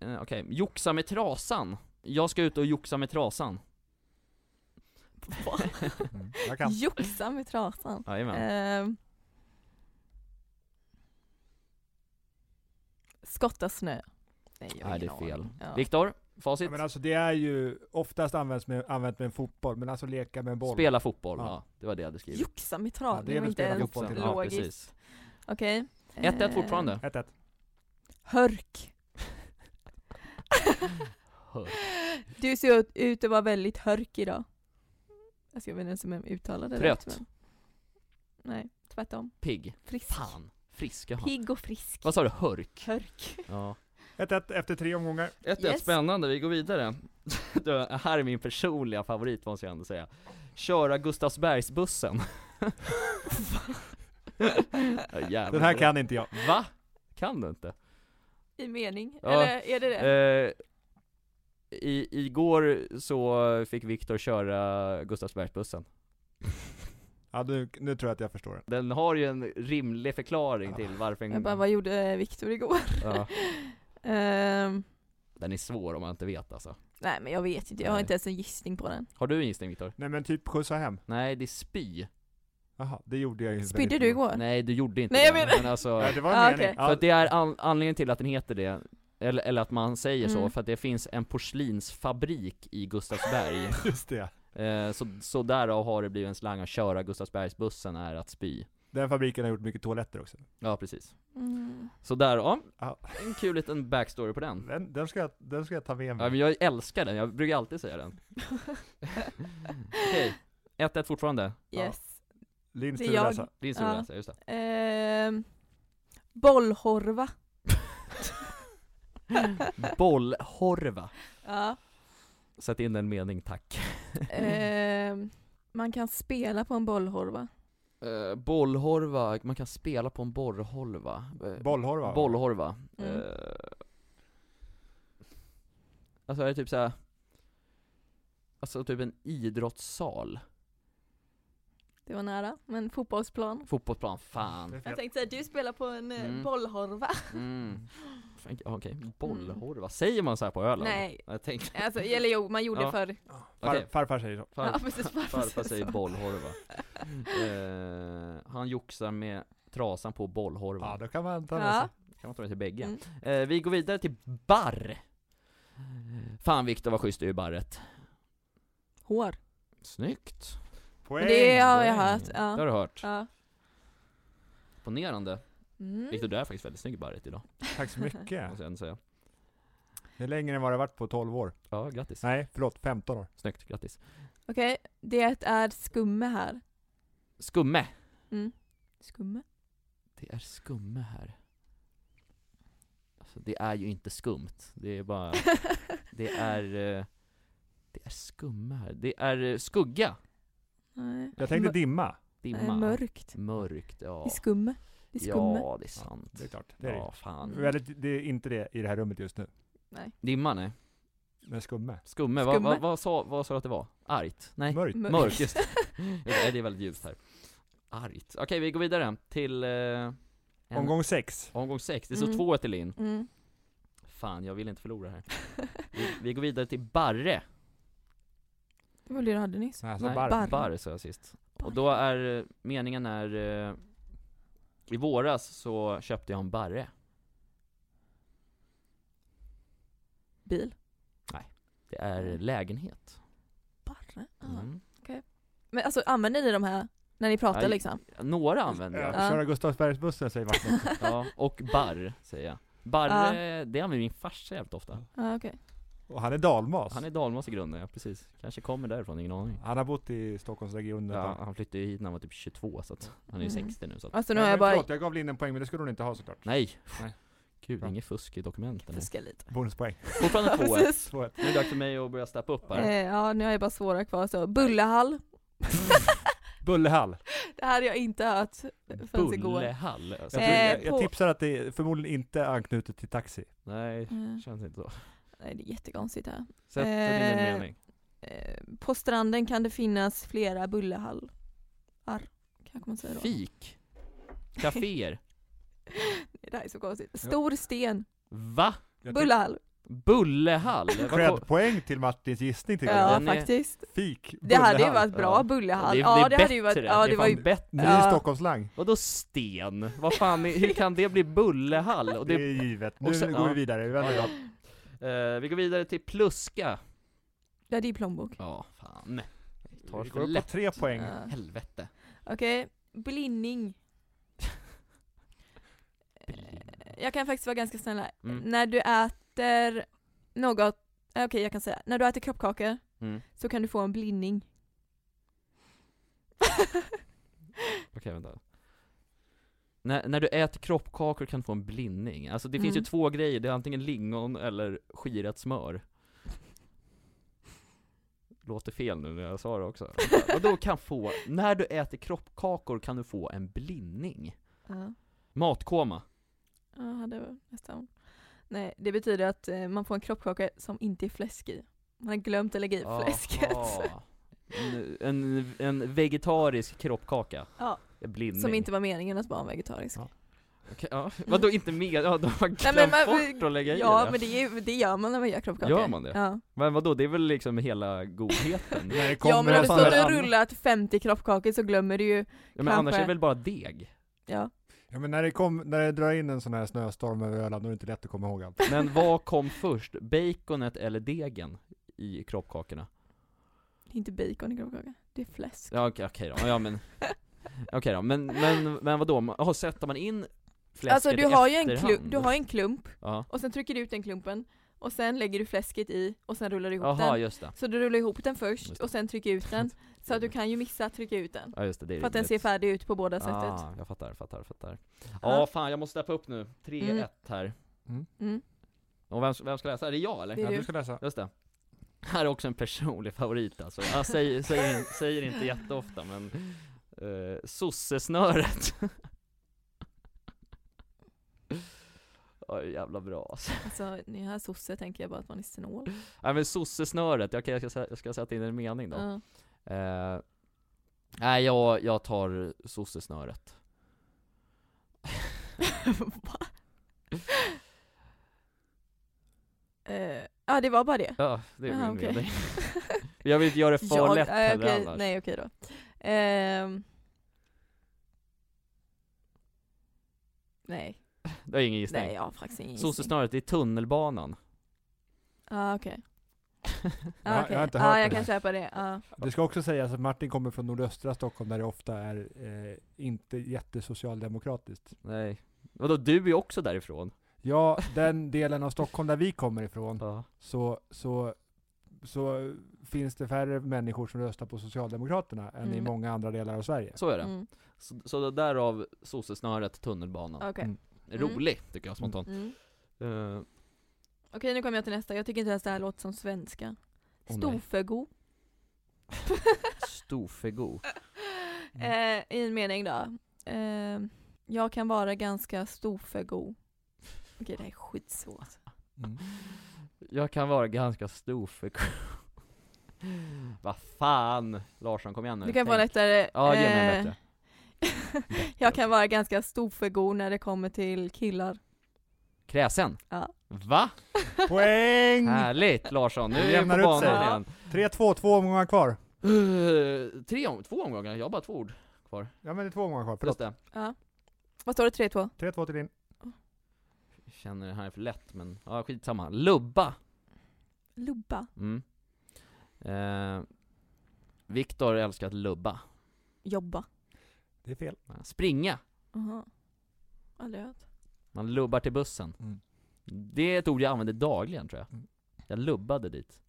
S2: Eh, Okej, joxa med trasan. Jag ska ut och joxa med trasan.
S1: Mm, jag kan.
S3: Joxa med trasan.
S2: Jajamän.
S3: Eh, skotta snö. Nej, jag har
S2: Nej, det
S3: ingen
S2: är fel.
S3: aning. Ja.
S2: Viktor,
S1: Ja,
S2: facit?
S1: men alltså det är ju oftast används med, använt med en fotboll, men alltså leka med en boll.
S2: Spela fotboll, ja.
S1: Ja.
S2: det var det jag hade skrivit.
S3: Joxa med
S1: Ja,
S3: trasan.
S1: det är
S3: det, var
S1: väl
S3: inte
S1: spela
S3: ens
S1: fotboll till.
S2: Ja,
S3: logiskt.
S2: precis.
S3: Okej.
S2: 1-1
S3: Eh,
S2: fortfarande.
S1: 1-1.
S3: Hörk.
S2: Hör.
S3: Du ser ut- ut att vara väldigt hörk idag. Alltså jag vet inte ens om jag uttalade det
S2: Trött.
S3: rätt. men- Nej, tvärtom.
S2: Pigg.
S3: Frisk.
S2: Fan. Frisk, jaha.
S3: Pigg och frisk.
S2: Vad sa du? Hörk?
S3: Hörk.
S2: Ja.
S1: 1-1 efter tre omgångar.
S2: 1-1,
S3: Yes.
S2: spännande, vi går vidare. Då, här är min personliga favorit måste jag ändå säga. Köra Gustavsbergsbussen. Ja, jävlar.
S1: Den här kan inte jag.
S2: Va? Kan du inte?
S3: I mening,
S2: Ja,
S3: eller är det det?
S2: Eh, i, igår så fick Viktor köra Gustavsbergsbussen.
S1: Ja, nu, nu tror jag att jag förstår den.
S2: Den har ju en rimlig förklaring till varför en...
S3: jag bara, vad gjorde eh, Viktor igår?
S2: Ja,
S3: Ehm,
S2: den är svår om man inte vet alltså.
S3: nej men jag vet inte, jag har
S2: Nej.
S3: inte ens en gissning på den.
S2: Har du en gissning Viktor?
S1: Nej men typ skjutsa hem.
S2: Nej, det är spy.
S1: Jaha, det gjorde jag ju.
S3: Spydde
S1: väldigt
S3: du
S1: bra.
S3: igår?
S2: Nej, du gjorde inte
S3: Nej, jag
S2: det.
S3: menar-
S2: Men alltså...
S1: Ja, det var en
S3: Ah,
S1: mening.
S3: okej.
S2: För
S1: Ja,
S2: att det är an- anledningen till att den heter det, eller, eller att man säger så,
S3: Mm.
S2: för att det finns en porslinsfabrik i Gustavsberg.
S1: just det.
S2: eh, så, så därav har det blivit en slang att köra Gustavsbergsbussen är att spy.
S1: Den fabriken har gjort mycket toaletter också.
S2: Ja, precis.
S3: Mm.
S2: Så där, ja.
S1: Ja. Mm.
S2: En kul liten backstory på den.
S1: Den, den, ska, jag, den ska jag ta med
S2: Ja,
S1: mig.
S2: men jag älskar den, jag brukar alltid säga den. Okej, 1-1 fortfarande.
S3: Yes.
S1: Linns
S3: det
S1: tur
S3: är jag.
S1: att läsa.
S2: Din stora
S3: Ja.
S2: läsare, just det.
S3: Ehm, bollhorva.
S2: Bollhorva.
S3: Ja.
S2: Sätt in en mening, tack.
S3: Ehm, man kan spela på en bollhorva.
S2: Eh, bollhorva, man kan spela på en borrholva. Eh,
S1: Bollhorva.
S2: Bollhorva.
S3: Mm.
S2: Eh, alltså är det typ såhär, alltså typ en idrottssal.
S3: Det var nära, men fotbollsplan.
S2: Fotbollsplan, fan.
S3: Jag tänkte säga, du spelar på en eh,
S2: Mm.
S3: bollhorva.
S2: Mm. Fan, Okej, bollhorva. Säger man så här på Öland?
S3: Mm. Nej.
S2: Jag tänkte,
S3: Alltså, eller jo, man gjorde
S2: Ja.
S3: förr.
S1: Far,
S2: okej.
S1: Farfar säger så.
S2: Far-
S3: ja, precis, varför
S2: Farfar säger
S3: så?
S2: bollhorva. Eh, han joxar med trasan på bollhorva.
S1: Ja, då kan man ta med sig.
S3: Ja.
S2: Kan man ta det till bägge.
S3: Mm.
S2: Eh, vi går vidare till barr. Fan Viktor vad schysst du är i barret.
S3: Hår.
S2: Snyggt.
S1: Poäng!
S3: Men det har jag
S2: Poäng.
S3: hört.
S2: Det har
S3: Ja.
S2: du hört.
S3: Ja.
S2: Imponerande.
S3: Mm.
S2: Viktor du är faktiskt väldigt snygg i barret idag,
S1: Tack så mycket.
S3: Alltså.
S2: måste jag ändå säga.
S1: Det är längre än vad det har varit på 12 år.
S2: Ja, grattis.
S1: Nej, förlåt, 15 år.
S2: Snyggt, grattis.
S3: Okej, det är skumme här.
S2: Skumme.
S3: Mm. Skumme?
S2: Det är skumme här. Alltså, det är ju inte skumt. Det är bara, det är, eh, det är skumme här. Det är eh, skugga.
S3: Nej.
S1: Jag tänkte dimma.
S3: Nej,
S2: Dimma.
S3: Mörkt.
S2: Mörkt, ja.
S3: Det är skumme. Det är skumme.
S2: Ja, det är sant.
S1: Det är klart. Det Mm. är
S2: Ja,
S1: det.
S2: fan.
S1: Väldigt, det är inte det i det här rummet just nu.
S2: Dimma, nej.
S1: Men skumme.
S2: Skumme, vad,
S3: Skumme.
S2: vad, vad, sa, vad sa du att det var? Argt? Nej,
S1: Mörkt.
S3: Mörkt.
S2: mörkt, just det. Nej, det är väldigt ljust här. Argt. Okej, vi går vidare till eh, en-
S1: Omgång sex.
S2: omgång sex. Det står
S3: Mm.
S2: 2-1 till Linn.
S3: Mm.
S2: Fan, jag vill inte förlora här. Vi, vi går vidare till Barre.
S3: Det var det du hade nyss.
S1: Alltså
S2: Nej,
S1: barr.
S3: barr.
S2: Barre sa jag sist. Och då är, eh, meningen är, eh, i våras så köpte jag en Barre.
S3: Bil.
S2: Det är lägenhet.
S3: Barre. Ja.
S2: Mm.
S3: Men alltså använder ni de här när ni pratar
S2: Aj.
S3: liksom?
S2: Några använder jag.
S1: Ja, Köra Gustavsbergsbussen säger vattnet.
S2: Ja, och barr säger jag. Barre, det använder min farsa jävligt ofta.
S3: Ja, okej.
S1: Och han är dalmas.
S2: Han är dalmas i grunden, ja precis. Kanske kommer därifrån, ingen aning.
S1: Han har bott i Stockholmsregionen ett
S2: Ja,
S1: tag.
S2: han flyttade ju hit när han var typ 22 så att han är ju
S3: Mm.
S2: 60 nu så att,
S3: Alltså nu
S1: Nej,
S3: har jag
S1: men
S3: bara
S1: Förlåt, jag gav Linn en poäng, men det skulle hon inte ha såklart.
S2: nej!
S1: Nej.
S2: Gud,
S1: Bra.
S2: inget fusk i dokumenten. här.
S3: fuskat lite.
S1: Bonuspoäng.
S2: Fortfarande 2-1.
S3: Precis.
S1: Så eh, ett.
S2: Nu är det dags för mig att börja steppa upp
S3: Eh,
S2: här.
S3: ja, nu har jag bara svåra kvar så. Bullehall.
S1: Bullehall.
S3: Det här har jag inte hört förrän igår.
S2: Bullehall.
S1: Jag,
S2: Alltså,
S1: tror,
S3: Eh,
S1: jag, jag
S3: på-
S1: tipsar att det är förmodligen inte anknutet till taxi.
S2: Nej,
S3: Mm.
S2: känns inte så.
S3: Nej, det är jättekonstigt här.
S2: Sätt, sätt in
S3: Eh,
S2: en mening.
S3: Eh, på stranden kan det finnas flera bullehall. Ar, kanske man säger då.
S2: Fik. Caféer.
S3: Det här är så konstigt. Stor sten.
S2: Va?
S1: Jag tycker-
S3: Bullehall.
S2: Bullehall? Vad ko-
S1: Credpoäng till Martins gissning tycker
S3: Ja,
S1: jag.
S2: den är-
S3: faktiskt.
S1: Fik.
S3: Det hade ju
S1: Bullehall.
S3: varit bra,
S2: Ja.
S3: bullehall.
S2: Det- det
S3: ja,
S2: är
S3: det, hade ju varit,
S2: bättre.
S3: ja,
S2: Det
S3: det,
S2: är
S3: var ju
S1: fan Ny
S3: Ja.
S1: Stockholmsslang.
S2: Vadå sten? Vad fan, är- hur kan det bli bullehall? Och
S1: Det
S2: det,
S1: är givet. Nu
S2: och sen-
S1: går
S2: ja.
S1: vi vidare. Vi vänder
S2: Ja,
S1: blad.
S2: eh, vi går vidare till pluska.
S3: Ja, det är plånbok.
S2: Ja, fan.
S1: Vi går
S2: tar det
S1: upp
S2: för
S1: på
S2: lätt.
S1: tre poäng.
S3: Ja.
S2: Helvete.
S3: Okej, blinning. Eh. Jag kan faktiskt vara ganska snäll här.
S2: Mm.
S3: När du äter något, eh, okej jag kan säga, när du äter kroppkakor
S2: Mm.
S3: så kan du få en blinning.
S2: Okej, vänta. När, när du äter kroppkakor kan du få en blindning. Alltså det finns ju
S3: Mm.
S2: två grejer, det är antingen lingon eller skirat smör. Låter fel nu när jag sa det också. Och då kan få, när du äter kroppkakor kan du få en blindning.
S3: Ja,
S2: Matkoma.
S3: ja hade jag nästan. Nej, det betyder att eh, man får en kroppkaka som inte är fläsk i. Man har glömt att lägga i fläsket.
S2: Aha. En, en, en vegetarisk kroppkaka.
S3: Ja.
S2: En Blindning.
S3: Som inte var meningen att vara vegetarisk.
S1: Ja.
S2: Okej, ja. Vadå inte mer? Ja, de har glömt bort att lägga i
S3: ja,
S2: det.
S3: men det, är, ju- det gör man när man gör kroppkakor.
S2: Gör man det?
S3: Ja.
S2: Men vadå, det är väl liksom hela godheten?
S1: När det
S3: ja men
S1: kommer
S3: har du
S1: en
S2: fan
S3: stått
S2: det
S3: och
S2: an-
S3: rullat 50 kroppkakor så glömmer du ju,
S2: Ja, men annars är
S3: Kanske.
S2: det väl bara deg?
S3: ja.
S1: Ja men när det, kom, när det drar in en sån här snöstorm över Öland, då är det inte lätt att komma ihåg allt.
S2: Men vad kom först? Baconet eller degen i kroppkakorna?
S3: Det är inte bacon i kroppkaka, det är fläsk.
S2: Ja okej, okej då, ja men Okej då, men, men, men vadå? Jaha, sätter man in fläsket
S3: Alltså du har,
S2: i
S3: ju en klump,
S2: efterhand?
S3: du har ju en klump,
S2: Ja.
S3: och sen trycker du ut den klumpen, och sen lägger du fläsket i, och sen rullar du ihop
S2: Jaha,
S3: den.
S2: just det.
S3: Så du rullar ihop den först,
S2: Just det.
S3: och sen trycker ut den. Så att du kan ju missa att trycka ut den.
S2: Ja just det, det är
S3: För att den ser
S2: rimligt.
S3: färdig ut på båda sättet.
S2: Ah, jag fattar, fattar, fattar. Ja,
S3: Ja.
S2: fan jag måste steppa upp nu. 3-1
S3: Mm.
S2: här.
S3: Mm.
S2: Och vem, vem ska läsa? Är det jag eller?
S3: Det är
S1: Ja,
S3: du.
S1: du ska läsa.
S2: Just det. Här är också en personlig favorit alltså. Jag säger, säger, säger inte jätteofta men eh, Sossesnöret. Ja, det är jävla bra alltså.
S3: Alltså, när jag är sosse tänker jag bara att man är snål.
S2: Nej men sossesnöret, okej jag, ska, sä- jag ska sätta in en mening då.
S3: Ja.
S2: Eh, nej jag, jag tar sossesnöret.
S3: Va? Eh, Ja, det var bara det.
S2: Ja, det är
S3: Jaha,
S2: min
S3: Ah, okej.
S2: mening. Jag vill inte göra det för
S3: Jag-
S2: lätt
S3: nej,
S2: heller
S3: eh, okej,
S2: annars.
S3: nej okej då. Ehm. nej,
S2: Det är ingen gissning.
S3: nej jag har faktiskt ingen gissning.
S2: Sossesnöret, det är tunnelbanan.
S3: Ah, okej.
S1: Jag har-
S3: Ah,
S1: jag
S3: okej.
S1: har inte hört
S3: ah,
S1: det
S3: jag kan
S1: här.
S3: köpa det. Ah.
S1: Det ska också sägas att Martin kommer från nordöstra Stockholm där det ofta är eh, inte jättesocialdemokratiskt.
S2: Nej. Vadå, du är ju också därifrån?
S1: Ja, den delen av Stockholm där vi kommer ifrån
S2: Ja.
S1: så, så, så finns det färre människor som röstar på Socialdemokraterna än i
S3: Mm.
S1: många andra delar av Sverige.
S2: Så är det.
S3: Mm.
S2: Så, så det därav sossesnöret, tunnelbanan.
S3: Okej.
S1: Mm.
S2: Rolig, tycker jag spontant.
S3: Mm.
S2: Eh,
S3: Okej, nu kommer jag till nästa. Jag tycker inte ens det här låter som svenska.
S2: Åh, nej.
S3: Storfego.
S2: Storfego.
S3: Eh, I en mening då. Eh, jag kan vara ganska storfego. Okej, det här är skitsvårt.
S1: Mm.
S2: Jag kan vara ganska storfego. Vad fan! Larsson, kom igen nu.
S3: Du kan få
S2: Tänk.
S3: en lättare.
S2: Ja, ge mig
S3: eh,
S2: en bättre. Bättre.
S3: Jag kan vara ganska storfego när det kommer till killar.
S2: Kräsen?
S3: Ja.
S2: Va?
S1: Poäng!
S2: Härligt Larsson, nu
S1: Det
S2: är jag på
S1: jämnar ut sig.
S2: banan igen.
S1: 3-2, två omgångar kvar.
S2: Uh, tre om, två omgångar, jag har bara två ord kvar.
S1: Ja men det är två omgångar kvar,
S2: Just
S1: förlåt.
S2: det.
S3: Ja. Vad står det? 3-2?
S1: 3-2 till din.
S2: Jag känner det här är för lätt men, ja skitsamma. Lubba!
S3: Lubba.
S2: Mm. Eh, Viktor älskar att lubba.
S3: Jobba.
S1: Det är fel.
S2: Springa!
S3: Aha. Aldrig hört.
S2: Man lubbar till bussen.
S1: Mm.
S2: Det är ett ord jag använder dagligen tror jag.
S1: Mm.
S2: Jag lubbade dit.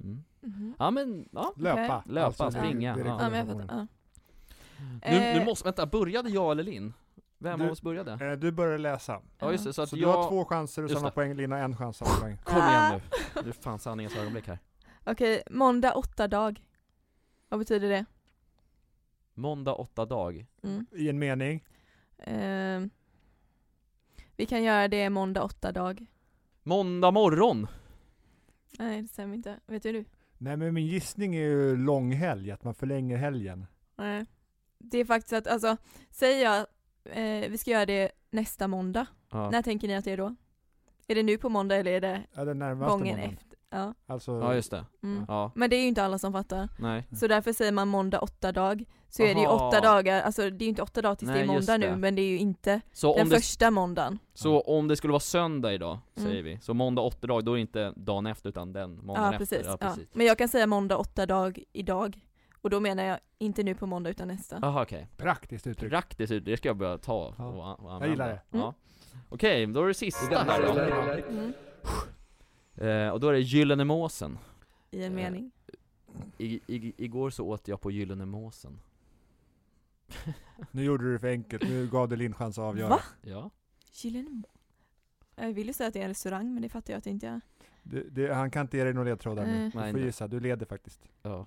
S2: Mm.
S3: Mhm.
S2: Ja men, ja.
S1: Löpa. Alltså,
S3: Okej.
S2: Löpa,
S1: det-
S2: springa,
S1: det är
S2: ja.
S3: Ja, men jag
S1: rekommendationen.
S3: fattar.
S2: Nu,
S3: Ja.
S2: nu
S3: Eh.
S2: måste, vänta, började jag eller Linn? Vem
S1: Du-
S2: av oss började?
S1: Eh, Du börjar läsa.
S2: Ja just det, så att
S1: Så du
S2: jag...
S1: har två chanser att
S2: Just
S1: samla
S2: det.
S1: poäng, Lina en chans att samla poäng.
S2: Kom igen nu. Nu är fan sanningens ögonblick här.
S3: Okej, måndag åtta dag. Vad betyder det?
S2: Måndag åtta dag.
S3: Mm.
S1: I en mening.
S3: Ehm, vi kan göra det måndag åtta dag.
S2: Måndag morgon!
S3: Nej, det stämmer inte. Vet du?
S1: Nej men min gissning är ju långhelg, att man förlänger helgen.
S3: Nej. Det är faktiskt att, alltså, säger jag eh, vi ska göra det nästa måndag.
S2: Ja.
S3: När tänker ni att det är då? Är det nu på måndag eller är det
S1: Ja, den närmaste
S3: gången
S1: månaden.
S3: efter? Ja.
S1: Alltså,
S2: ja just det.
S3: Mm.
S2: Ja,
S3: Men det är ju inte alla som fattar.
S2: nej.
S3: Så därför säger man måndag åtta dag. Så är det ju
S2: Aha.
S3: åtta dagar, alltså det är ju inte åtta dagar tills det
S2: Nej,
S3: är
S2: just
S3: måndag
S2: det.
S3: nu men det är ju inte
S2: Så om,
S3: den
S2: det,
S3: första måndagen.
S2: så om det skulle vara söndag idag,
S3: Mm.
S2: säger vi, så måndag åtta dag, då är det inte dagen efter utan den måndagen
S3: Ja
S2: efter.
S3: precis. Ja, Men jag kan säga måndag åtta dag idag. Och då menar jag inte nu på måndag utan nästa.
S2: Jaha okej.
S1: Praktiskt uttryck.
S2: Praktiskt ut, det ska jag börja ta och,
S1: Typ. Ja.
S2: och använda.
S1: Jag gillar det.
S2: Ja. Okej, då är Mm. det sista här då.
S3: Mm.
S2: Eh, och då är det Gyllene Måsen.
S3: I en
S2: Eh,
S3: mening.
S2: I, i, igår så åt jag på Gyllene Måsen.
S1: Nu gjorde du det för enkelt, nu gav du Linn chans att avgöra.
S3: Va?
S2: Ja.
S3: Gyllene Må- Jag vill ju säga att det är en restaurang men det fattar jag att det inte är.
S1: Du, du, han kan inte ge dig några ledtrådar nu.
S3: Eh.
S1: Du
S2: Nej,
S1: får
S2: nej.
S1: gissa, du leder faktiskt.
S2: Ja.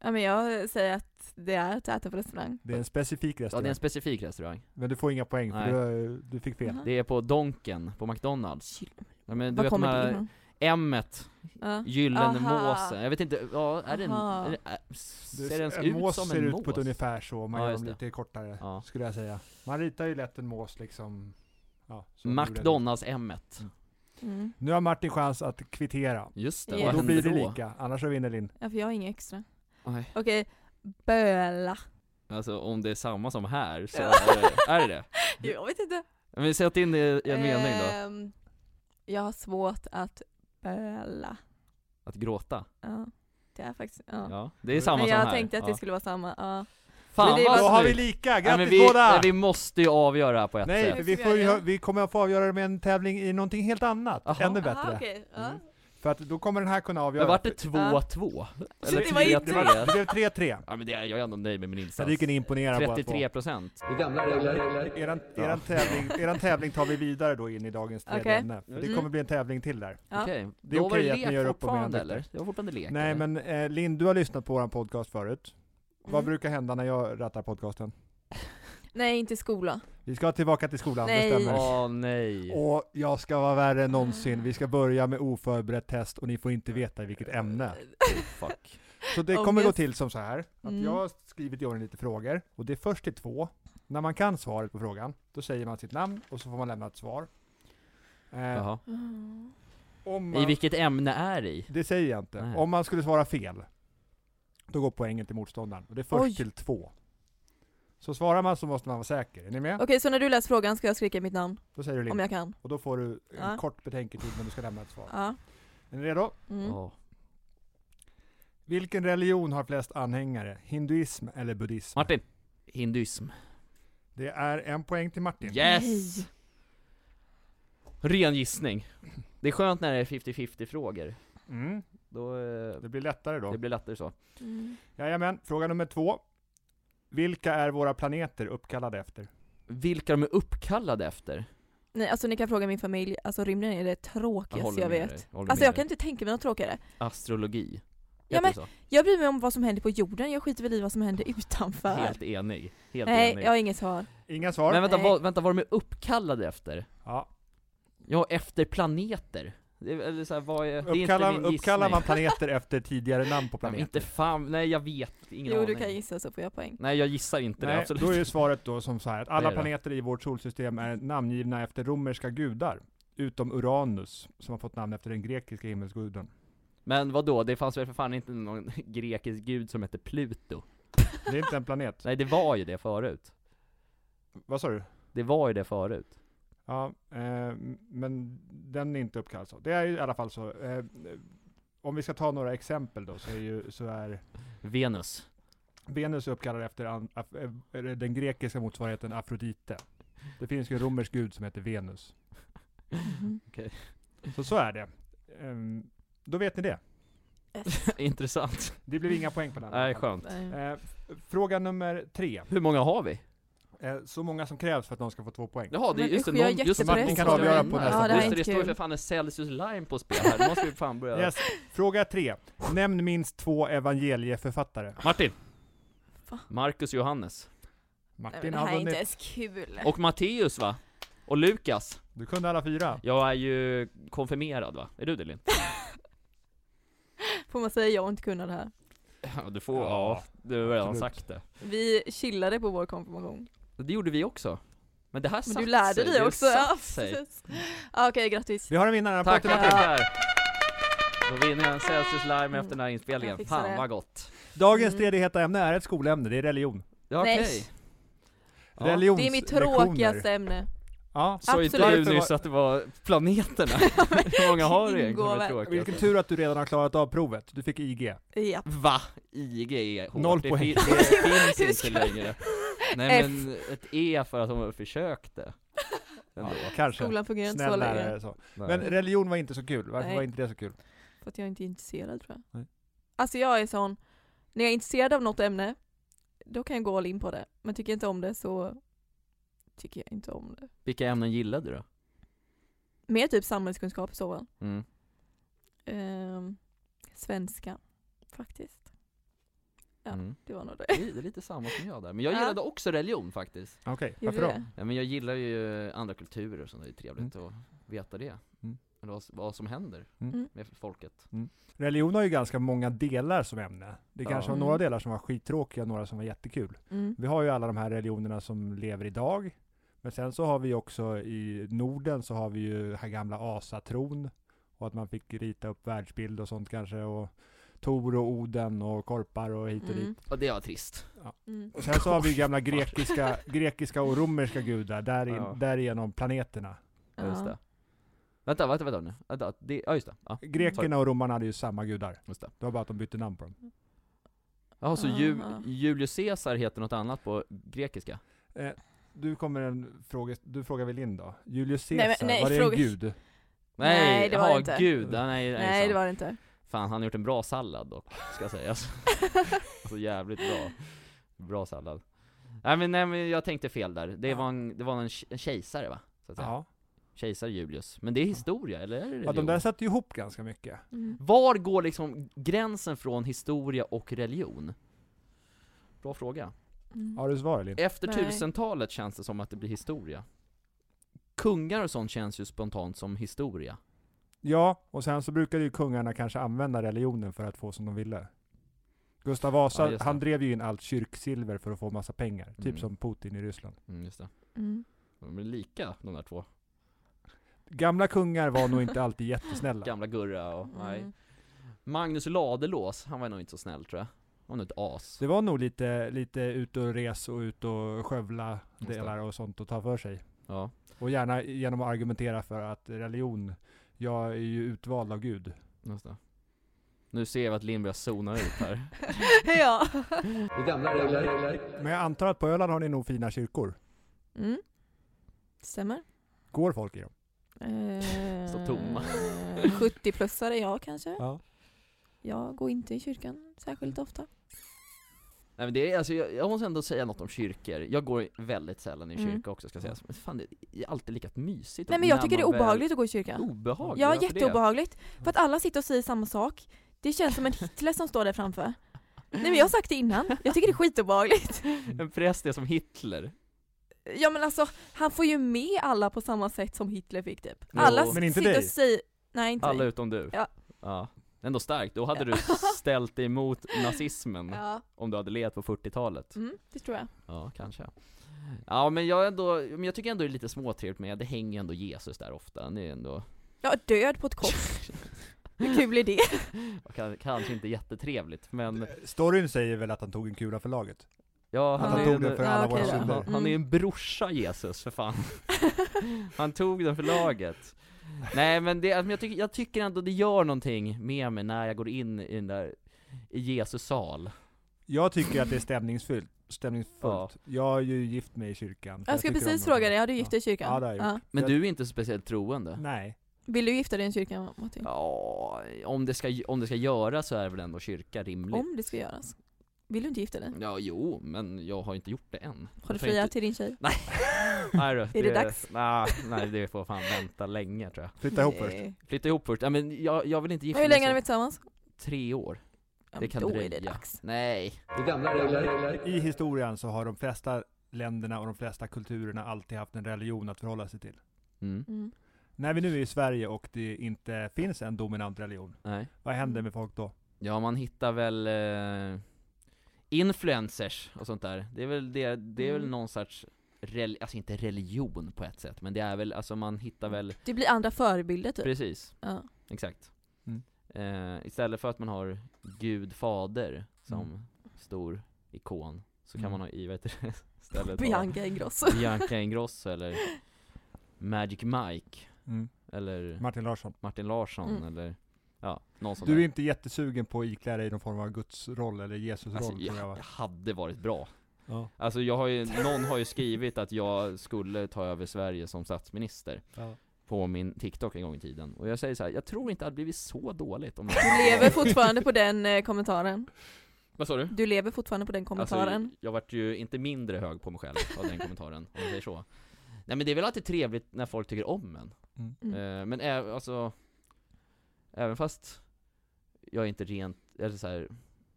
S3: Ja men jag säger att det är att äta på restaurang.
S1: Det är en specifik
S2: ja,
S1: restaurang.
S2: det är en specifik restaurang.
S1: Men du får inga poäng för
S2: Nej.
S1: du, du fick fel.
S3: Jaha.
S2: Det är på Donken, på McDonalds.
S3: Gyllene-
S2: Ja, men du
S3: Var
S2: vet de
S3: kommer det
S2: här
S3: ifrån?
S2: M-et,
S3: Ja.
S2: Gyllene
S3: Aha.
S2: Måsen. Jag vet inte, ja, är det en,
S3: Aha.
S2: är det, är, ser
S1: Du-
S2: den ens
S1: en
S2: ut
S1: mås
S2: som
S1: ser
S2: en
S1: ut
S2: mås?
S1: på ett ungefär så, om man
S2: Ja,
S1: gör
S2: just
S1: dem
S2: det.
S1: lite kortare,
S2: Ja.
S1: skulle jag säga. Man ritar ju lätt en mås liksom. Ja, så
S2: McDonalds M-et.
S3: Mm.
S1: Nu har Martin chans att kvittera.
S2: Just det,
S3: Ja.
S1: Och
S2: vad
S1: då
S2: händer
S1: blir
S2: då?
S1: det lika, annars så vinner Linn.
S3: ja för jag har inget extra.
S2: Nej.
S3: Okej, böla.
S2: Alltså om det är samma som här, så
S3: Ja.
S2: är det, är det det
S3: Jag vet inte.
S2: Men sätt in det i en mening då,
S3: Ehm, Jag har svårt att böla.
S2: att gråta.
S3: Ja. Det är faktiskt, ja.
S2: Ja. Det är samma
S3: men
S2: som
S3: jag
S2: här.
S3: tänkte att det
S2: Ja.
S3: skulle vara samma, ja.
S2: Fan
S3: Men det är
S2: vad
S1: Då har vi
S2: snyggt.
S1: lika,
S2: Nej,
S1: grattis
S2: men vi, nej,
S1: båda!
S2: vi måste ju avgöra det här på ett
S1: Nej,
S2: sätt
S1: för vi, får ju, hö- vi kommer att få avgöra det med en tävling i någonting helt annat,
S2: Aha.
S1: ännu bättre.
S3: Aha, okej. Ja.
S1: Mm. För att då kommer den här kunna avgöra.
S2: Men vart det
S3: Ja.
S2: 2-2? Eller
S3: det var inte-
S2: 3-3?
S1: Det blev 3-3.
S2: Ja men det, är- jag är ändå nöjd med min insats
S1: Henriken imponerar på
S2: 33 procent
S5: gamla regler.
S1: Eran, eran, tävling, eran tävling tar vi vidare då in i dagens tredje
S3: Okej.
S1: ämne. För det
S2: Mm.
S1: kommer bli en tävling till där.
S3: Ja.
S2: Okej,
S1: Det är
S2: då var
S1: okej
S2: det
S1: att ni
S2: lek
S1: gör upp om
S2: fortfarande
S1: er
S2: eller? Det var fortfarande lek
S1: Nej
S2: eller?
S1: men eh, Linn, du har lyssnat på våran podcast förut. Vad
S3: Mm.
S1: brukar hända när jag rattar podcasten?
S3: Nej, inte skola.
S1: Vi ska tillbaka till skolan,
S3: Nej.
S1: det stämmer.
S2: Åh nej!
S1: Och jag ska vara värre än någonsin. Vi ska börja med oförberett test och ni får inte veta i vilket ämne.
S2: Fuck.
S1: Så det
S3: Ångest.
S1: kommer gå till som så här, att
S3: Mm.
S1: jag har skrivit i ordning lite frågor, och det är först till två. När man kan svaret på frågan, då säger man sitt namn och så får man lämna ett svar. Eh,
S2: Jaha.
S3: Mm.
S1: om
S2: I
S1: man,
S2: vilket ämne är det i?
S1: det säger jag inte.
S2: Nej.
S1: Om man skulle svara fel, då går poängen till motståndaren. Och det är först
S3: Oj.
S1: till två. Så svarar man så måste man vara säker. Är ni med?
S3: Okej, så när du läser frågan ska jag skrika mitt namn,
S1: Då säger du Linn.
S3: om jag kan?
S1: Och då får du en
S3: Ja.
S1: kort betänketid när du ska lämna ett svar.
S3: Ja.
S1: Är ni redo?
S3: Mm.
S2: Åh.
S1: Vilken religion har flest anhängare? Hinduism eller buddhism?
S2: Martin! Hinduism.
S1: Det är en poäng till Martin.
S2: Yes! Ren gissning. Det är skönt när det är 50-50 frågor.
S1: Mm,
S2: Då, eh,
S1: det blir lättare då.
S2: det blir lättare så.
S3: Mm.
S1: Jajamän, fråga nummer två. Vilka är våra planeter uppkallade efter?
S2: Vilka de är uppkallade efter?
S3: Nej, alltså ni kan fråga min familj, alltså rymden är det
S2: Jag
S3: tråkigaste
S2: håller
S3: jag
S2: med
S3: vet.
S2: dig, håller
S3: Alltså
S2: med
S3: jag kan
S2: dig.
S3: inte tänka mig något tråkigare.
S2: Astrologi.
S3: Ja, men-
S2: Heter det
S3: Jag bryr mig om vad som händer på jorden, jag skiter väl i vad som händer
S2: så?
S3: utanför.
S2: Helt enig. Helt
S3: Nej,
S2: enig.
S3: jag har inget svar.
S1: Inga svar?
S2: Men vänta,
S3: Nej.
S2: vad, vänta, vad de är uppkallade efter?
S1: ja.
S2: Ja, efter planeter. Det är, eller så här, vad är, det är
S1: uppkallar,
S2: inte min
S1: uppkallar
S2: gissning.
S1: man planeter efter tidigare namn på
S2: Ja, men
S1: planeter?
S2: Inte fan, nej jag vet, ingen
S3: Jo,
S2: aning.
S3: du kan gissa så får jag poäng.
S2: Nej jag gissar inte det,
S1: Nej,
S2: absolut
S1: då är ju svaret då som så här att alla
S2: är det.
S1: planeter i vårt solsystem är namngivna efter romerska gudar, utom Uranus, som har fått namn efter den grekiska himmelsguden.
S2: Men vad då? det fanns väl för fan inte någon grekisk gud som hette Pluto?
S1: Det är inte en planet.
S2: Nej det var ju det förut.
S1: Vad sa du?
S2: Det var ju det förut.
S1: Ja, eh, men den är inte uppkallad så. Det är ju i alla fall så. Eh, om vi ska ta några exempel då, så är ju, så är
S2: Venus.
S1: Venus är uppkallad efter an, af, eh, den grekiska motsvarigheten Afrodite. Det finns ju en romersk gud som heter Venus.
S3: Mhm.
S1: Så så är det. Ehm, då vet ni det.
S2: Intressant.
S1: Det blev inga poäng på den.
S2: Nej skönt.
S3: Nej.
S2: Mm.
S1: Eh, f- fråga nummer tre.
S2: Hur många har vi?
S1: Eh, så många som krävs för att någon ska få två poäng.
S2: Jaha, det är
S3: Men
S2: just det,
S3: usch, jag är
S2: någon, just det,
S3: jättepressad.
S2: någon
S1: Ni kan
S2: som
S1: avgöra
S2: vinner.
S1: på nästa
S3: Ja, det här är
S2: Just det, det
S3: inte
S2: står ju för
S3: kul.
S2: fan Celsius Lime på spel här, nu måste vi fan börja.
S1: Yes. Fråga tre. Nämn minst två evangelieförfattare.
S2: Martin!
S3: Va?
S2: Marcus Johannes.
S3: Nej,
S1: Martin
S3: men det här
S1: har
S3: är inte
S1: vunnit.
S3: ens kul.
S2: Och Matteus va? Och Lukas.
S1: Du kunde alla fyra.
S2: Jag är ju konfirmerad va? Är du det Linn?
S3: Får man säga jag har inte kunnat det här?
S2: Ja, du får,
S1: Ja,
S2: ja, du har redan
S1: absolut.
S2: sagt det.
S3: Vi chillade på vår konfirmation.
S2: Det gjorde vi också. Men det här
S3: Men
S2: satt
S3: du lärde
S2: sig.
S3: dig
S2: Det
S3: också.
S2: satt
S3: Ja,
S2: sig.
S3: precis. Ja, Okej, grattis.
S1: Vi har en vinnare. En applåd
S2: Tack
S1: till
S2: Martin!
S1: Martin.
S2: Där. Då vinner jag en Celsius Lime efter den här
S3: Mm. Jag
S2: inspelningen.
S3: fixar
S2: Fan
S3: det.
S2: vad gott.
S1: Dagens
S3: Mm.
S1: tredje heta ämne är ett skolämne. Det är religion.
S2: Ja,
S3: Nej.
S2: okej. Ja.
S1: Religionslektioner.
S3: Det är mitt tråkigaste ämne.
S1: Ja,
S2: Sa inte du
S3: Absolut.
S2: nyss att det var planeterna? Hur många har du egentligen som är
S3: Ingår-
S2: tråkiga?
S1: vilken tur att du redan har klarat av provet. Du fick IG.
S3: Ja.
S2: Va? IG är hårt.
S1: Noll
S2: det,
S1: poäng.
S2: fin- det
S3: Hur
S2: finns
S3: ska-
S2: inte längre. Nej
S3: F.
S2: men ett E för att de försökte. Ändå.
S1: Kanske.
S3: Skolan fungerar inte så
S1: Snäll
S3: länge.
S1: lärare så.
S2: Nej.
S1: Men religion var inte så kul. Varför
S3: Nej.
S1: var inte det så kul?
S3: För att jag inte är intresserad tror jag.
S1: Nej.
S3: Alltså jag är sån, när jag är intresserad av något ämne, då kan jag gå all in på det. Men tycker jag inte om det så tycker jag inte om det.
S2: Vilka ämnen gillade du då?
S3: Mer typ samhällskunskap i så fall.
S2: Mm.
S3: Ehm, svenska, faktiskt. Ja.
S2: Mm.
S3: Det var nog det.
S2: Det är det är lite samma som jag där, men jag
S3: Ja.
S2: gillade också religion faktiskt
S1: Okej,
S3: Gjorde
S1: varför
S3: du
S1: då?
S3: det?
S2: ja, men jag gillar ju andra kulturer och sånt, det är trevligt att veta det
S1: Mm.
S2: Eller vad, vad som händer
S1: Mm.
S2: med folket
S1: Religion har ju ganska många delar som ämne. Det
S2: Ja.
S1: kanske var
S3: Mm.
S1: några delar som var skittråkiga och några som var jättekul.
S3: Mm.
S1: Vi har ju alla de här religionerna som lever idag. Men sen så har vi också i Norden så har vi ju den här gamla asatron. Och att man fick rita upp världsbild och sånt kanske. Och Tor och Oden och korpar och hit och dit.
S3: Mm.
S2: Och det var trist
S3: Mm.
S1: Och sen så har vi gamla grekiska, grekiska och romerska gudar, där
S2: Ja.
S1: därigenom planeterna.
S2: ja. just
S3: Ja.
S2: det Vänta, vänta, vänta nu, vänta, det, ja just det, ja,
S1: Grekerna och romarna hade ju samma gudar.
S2: just det
S1: Det var bara att de bytte namn på dem.
S2: Jaha, så
S3: Ah.
S2: Ju, Julius Caesar heter något annat på grekiska?
S1: Eh, du kommer en fråga, du frågar väl in då? Julius Caesar,
S3: Nej, men- nej,
S1: var det
S3: fråga-
S1: en gud?
S3: Nej, det var
S2: jaha,
S3: det inte.
S2: gud, ja, nej, nej,
S3: Nej
S2: sant.
S3: det var det inte.
S2: Fan, han har gjort en bra sallad dock, ska sägas. alltså jävligt bra. Bra sallad. Nej men, nej men jag tänkte fel där. Det
S1: Ja.
S2: var en, det var en, ke- en kejsare va? Så att säga.
S1: Ja.
S2: Kejsar Julius. Men det är historia, eller är det
S1: ja,
S2: religion?
S1: de där satte ju ihop ganska mycket.
S3: Mm.
S2: Var går liksom gränsen från historia och religion? Bra fråga.
S3: Mm.
S1: Har du svar Elin?
S2: Efter
S3: Nej.
S2: 1000-talet känns det som att det blir historia. Kungar och sånt känns ju spontant som historia.
S1: Ja, och sen så brukade ju kungarna kanske använda religionen för att få som de ville. Gustav Vasa,
S2: Ja, just det.
S1: han drev ju in allt kyrksilver för att få massa pengar.
S2: Mm.
S1: Typ som Putin i Ryssland.
S2: Mm, just det.
S3: Mm.
S2: De är lika, de där två.
S1: Gamla kungar var nog inte alltid jättesnälla.
S2: Gamla Gurra och... Nej.
S3: Mm.
S2: Magnus Ladulås, han var nog inte så snäll tror jag. Han var nog ett as.
S1: Det var nog lite, lite ut och res och ut och skövla
S2: Just det.
S1: delar och sånt och ta för sig.
S2: Ja.
S1: Och gärna genom att argumentera för att religion, jag är ju utvald av Gud.
S2: Just det. Nu ser vi att Linn börjar zona ut här.
S3: ja.
S5: Gamla regler.
S1: Men jag antar att på Öland har ni nog fina kyrkor.
S3: Mm. Stämmer.
S1: Går folk i dem?
S3: Eh,
S2: Så tomma.
S3: 70-plussare jag Eh, kanske.
S1: Ja. Mm.
S3: Jag går inte i kyrkan särskilt ofta.
S2: Nej men det är, alltså, jag, jag måste ändå säga något om kyrkor. Jag går väldigt sällan i en
S3: Mm.
S2: kyrka också ska sägas. Men fan det är alltid lika mysigt.
S3: Nej men
S2: när
S3: jag tycker det är
S2: man väl-
S3: obehagligt att gå i kyrkan.
S2: Obehagligt?
S3: Ja
S2: Varför det? Mm.
S3: jätteobehagligt. För att alla sitter och säger samma sak. Det känns som en Hitler som står där framför. Nej men jag har sagt det innan. Jag tycker det är skitobehagligt.
S2: En präst är som Hitler.
S3: Ja men alltså, han får ju med alla på samma sätt som Hitler fick typ.
S2: Jo,
S3: Alla
S2: men
S3: s-
S1: inte
S3: sitter
S1: dig.
S3: och säger... Nej inte
S2: Alla
S3: mig.
S2: utom du.
S3: Ja.
S2: ja. Ändå starkt, då hade
S3: Ja.
S2: du ställt dig emot nazismen
S3: Ja,
S2: om du hade levt på 40-talet.
S3: mm, det tror jag.
S2: Ja, kanske. Ja, men jag, är ändå, men jag tycker ändå det är lite småtrevligt med, det hänger ändå Jesus där ofta. Det är ändå,
S3: Ja, död på ett kors. Hur kul är det?
S2: kan- kanske inte jättetrevligt, men
S1: Storyn säger väl att han tog en kula för laget?
S2: ja,
S1: Att
S2: han,
S1: han
S2: är
S1: tog
S2: en,
S1: den för
S3: Ja,
S1: alla
S3: okej
S1: våra
S3: då.
S1: synder.
S2: han, han är en brorsa Jesus, för fan. Han tog den för laget. Nej, men det, men jag, tycker, jag tycker ändå det gör någonting med mig när jag går in i den där i Jesus sal.
S1: Jag tycker att det är stämningsfullt. stämningsfullt.
S2: Ja.
S1: Jag är ju gift med i kyrkan.
S3: Jag skulle
S1: tycker
S3: precis
S1: om-
S3: fråga dig, har du gift dig i kyrkan?
S1: Ja, det har jag
S2: Men
S1: Jag-
S2: du är inte speciellt troende?
S1: Nej.
S3: Vill du gifta dig i en kyrka, Martin?
S2: Ja, om det ska, om det ska göras så är väl ändå kyrka rimligt?
S3: Om det ska göras. Vill du inte gifta dig?
S2: Ja, jo, men jag har inte gjort det än.
S3: Har du
S2: Jag tänkte-
S3: friat till din tjej?
S2: Nej. nej då,
S3: det dags?
S2: Nej, nej, det får fan vänta länge tror jag.
S1: Flytta ihop först.
S3: Nej.
S2: Flytta ihop först, ja, men jag, jag vill inte gifta
S3: Hur länge har ni
S2: som-
S3: varit tillsammans?
S2: Tre år.
S3: Ja,
S2: Det kan
S3: då
S2: dröja.
S3: är det dags.
S2: Nej.
S5: Gamla regler.
S1: I historien så har de flesta länderna och de flesta kulturerna alltid haft en religion att förhålla sig till.
S2: Mm.
S3: Mm.
S1: När vi nu är i Sverige och det inte finns en dominant religion,
S2: Nej.
S1: vad
S3: Mm.
S1: händer med folk då?
S2: Ja, man hittar väl eh, influencers och sånt där. Det är väl, det, det är väl
S3: Mm.
S2: någon sorts, rel- alltså inte religion på ett sätt, men det är väl, alltså man hittar väl,
S3: Det blir andra förebilder typ.
S2: precis.
S3: Ja.
S2: Exakt.
S1: Mm.
S2: Eh, istället för att man har Gud fader som
S1: Mm.
S2: stor ikon, så kan
S1: Mm.
S2: man ha i, vad heter det, istället ha
S3: Bianca Ingrosso.
S2: Bianca Ingrosso eller Magic Mike, eller
S1: Mm. Martin Larsson.
S2: Martin Larsson
S3: Mm.
S2: eller, ja, någon sån
S1: Du är
S2: där.
S1: inte jättesugen på att iklä dig någon form av gudsroll eller Jesusroll
S2: Alltså,
S1: tror jag
S2: jag,
S1: va?
S2: jag hade varit bra.
S1: Ja.
S2: Alltså jag har ju, någon har ju skrivit att jag skulle ta över Sverige som statsminister
S1: Ja.
S2: på min TikTok en gång i tiden. Och jag säger så här, jag tror inte det hade blivit så dåligt om jag
S3: Du lever fortfarande på den eh, kommentaren.
S2: Vad sa du?
S3: Du lever fortfarande på den kommentaren.
S2: Alltså, jag vart ju inte mindre hög på mig själv av den kommentaren, om man säger så. Nej men det är väl alltid trevligt när folk tycker om en.
S1: Mm.
S2: Eh, men ä- alltså, även fast jag inte rent, eller så här,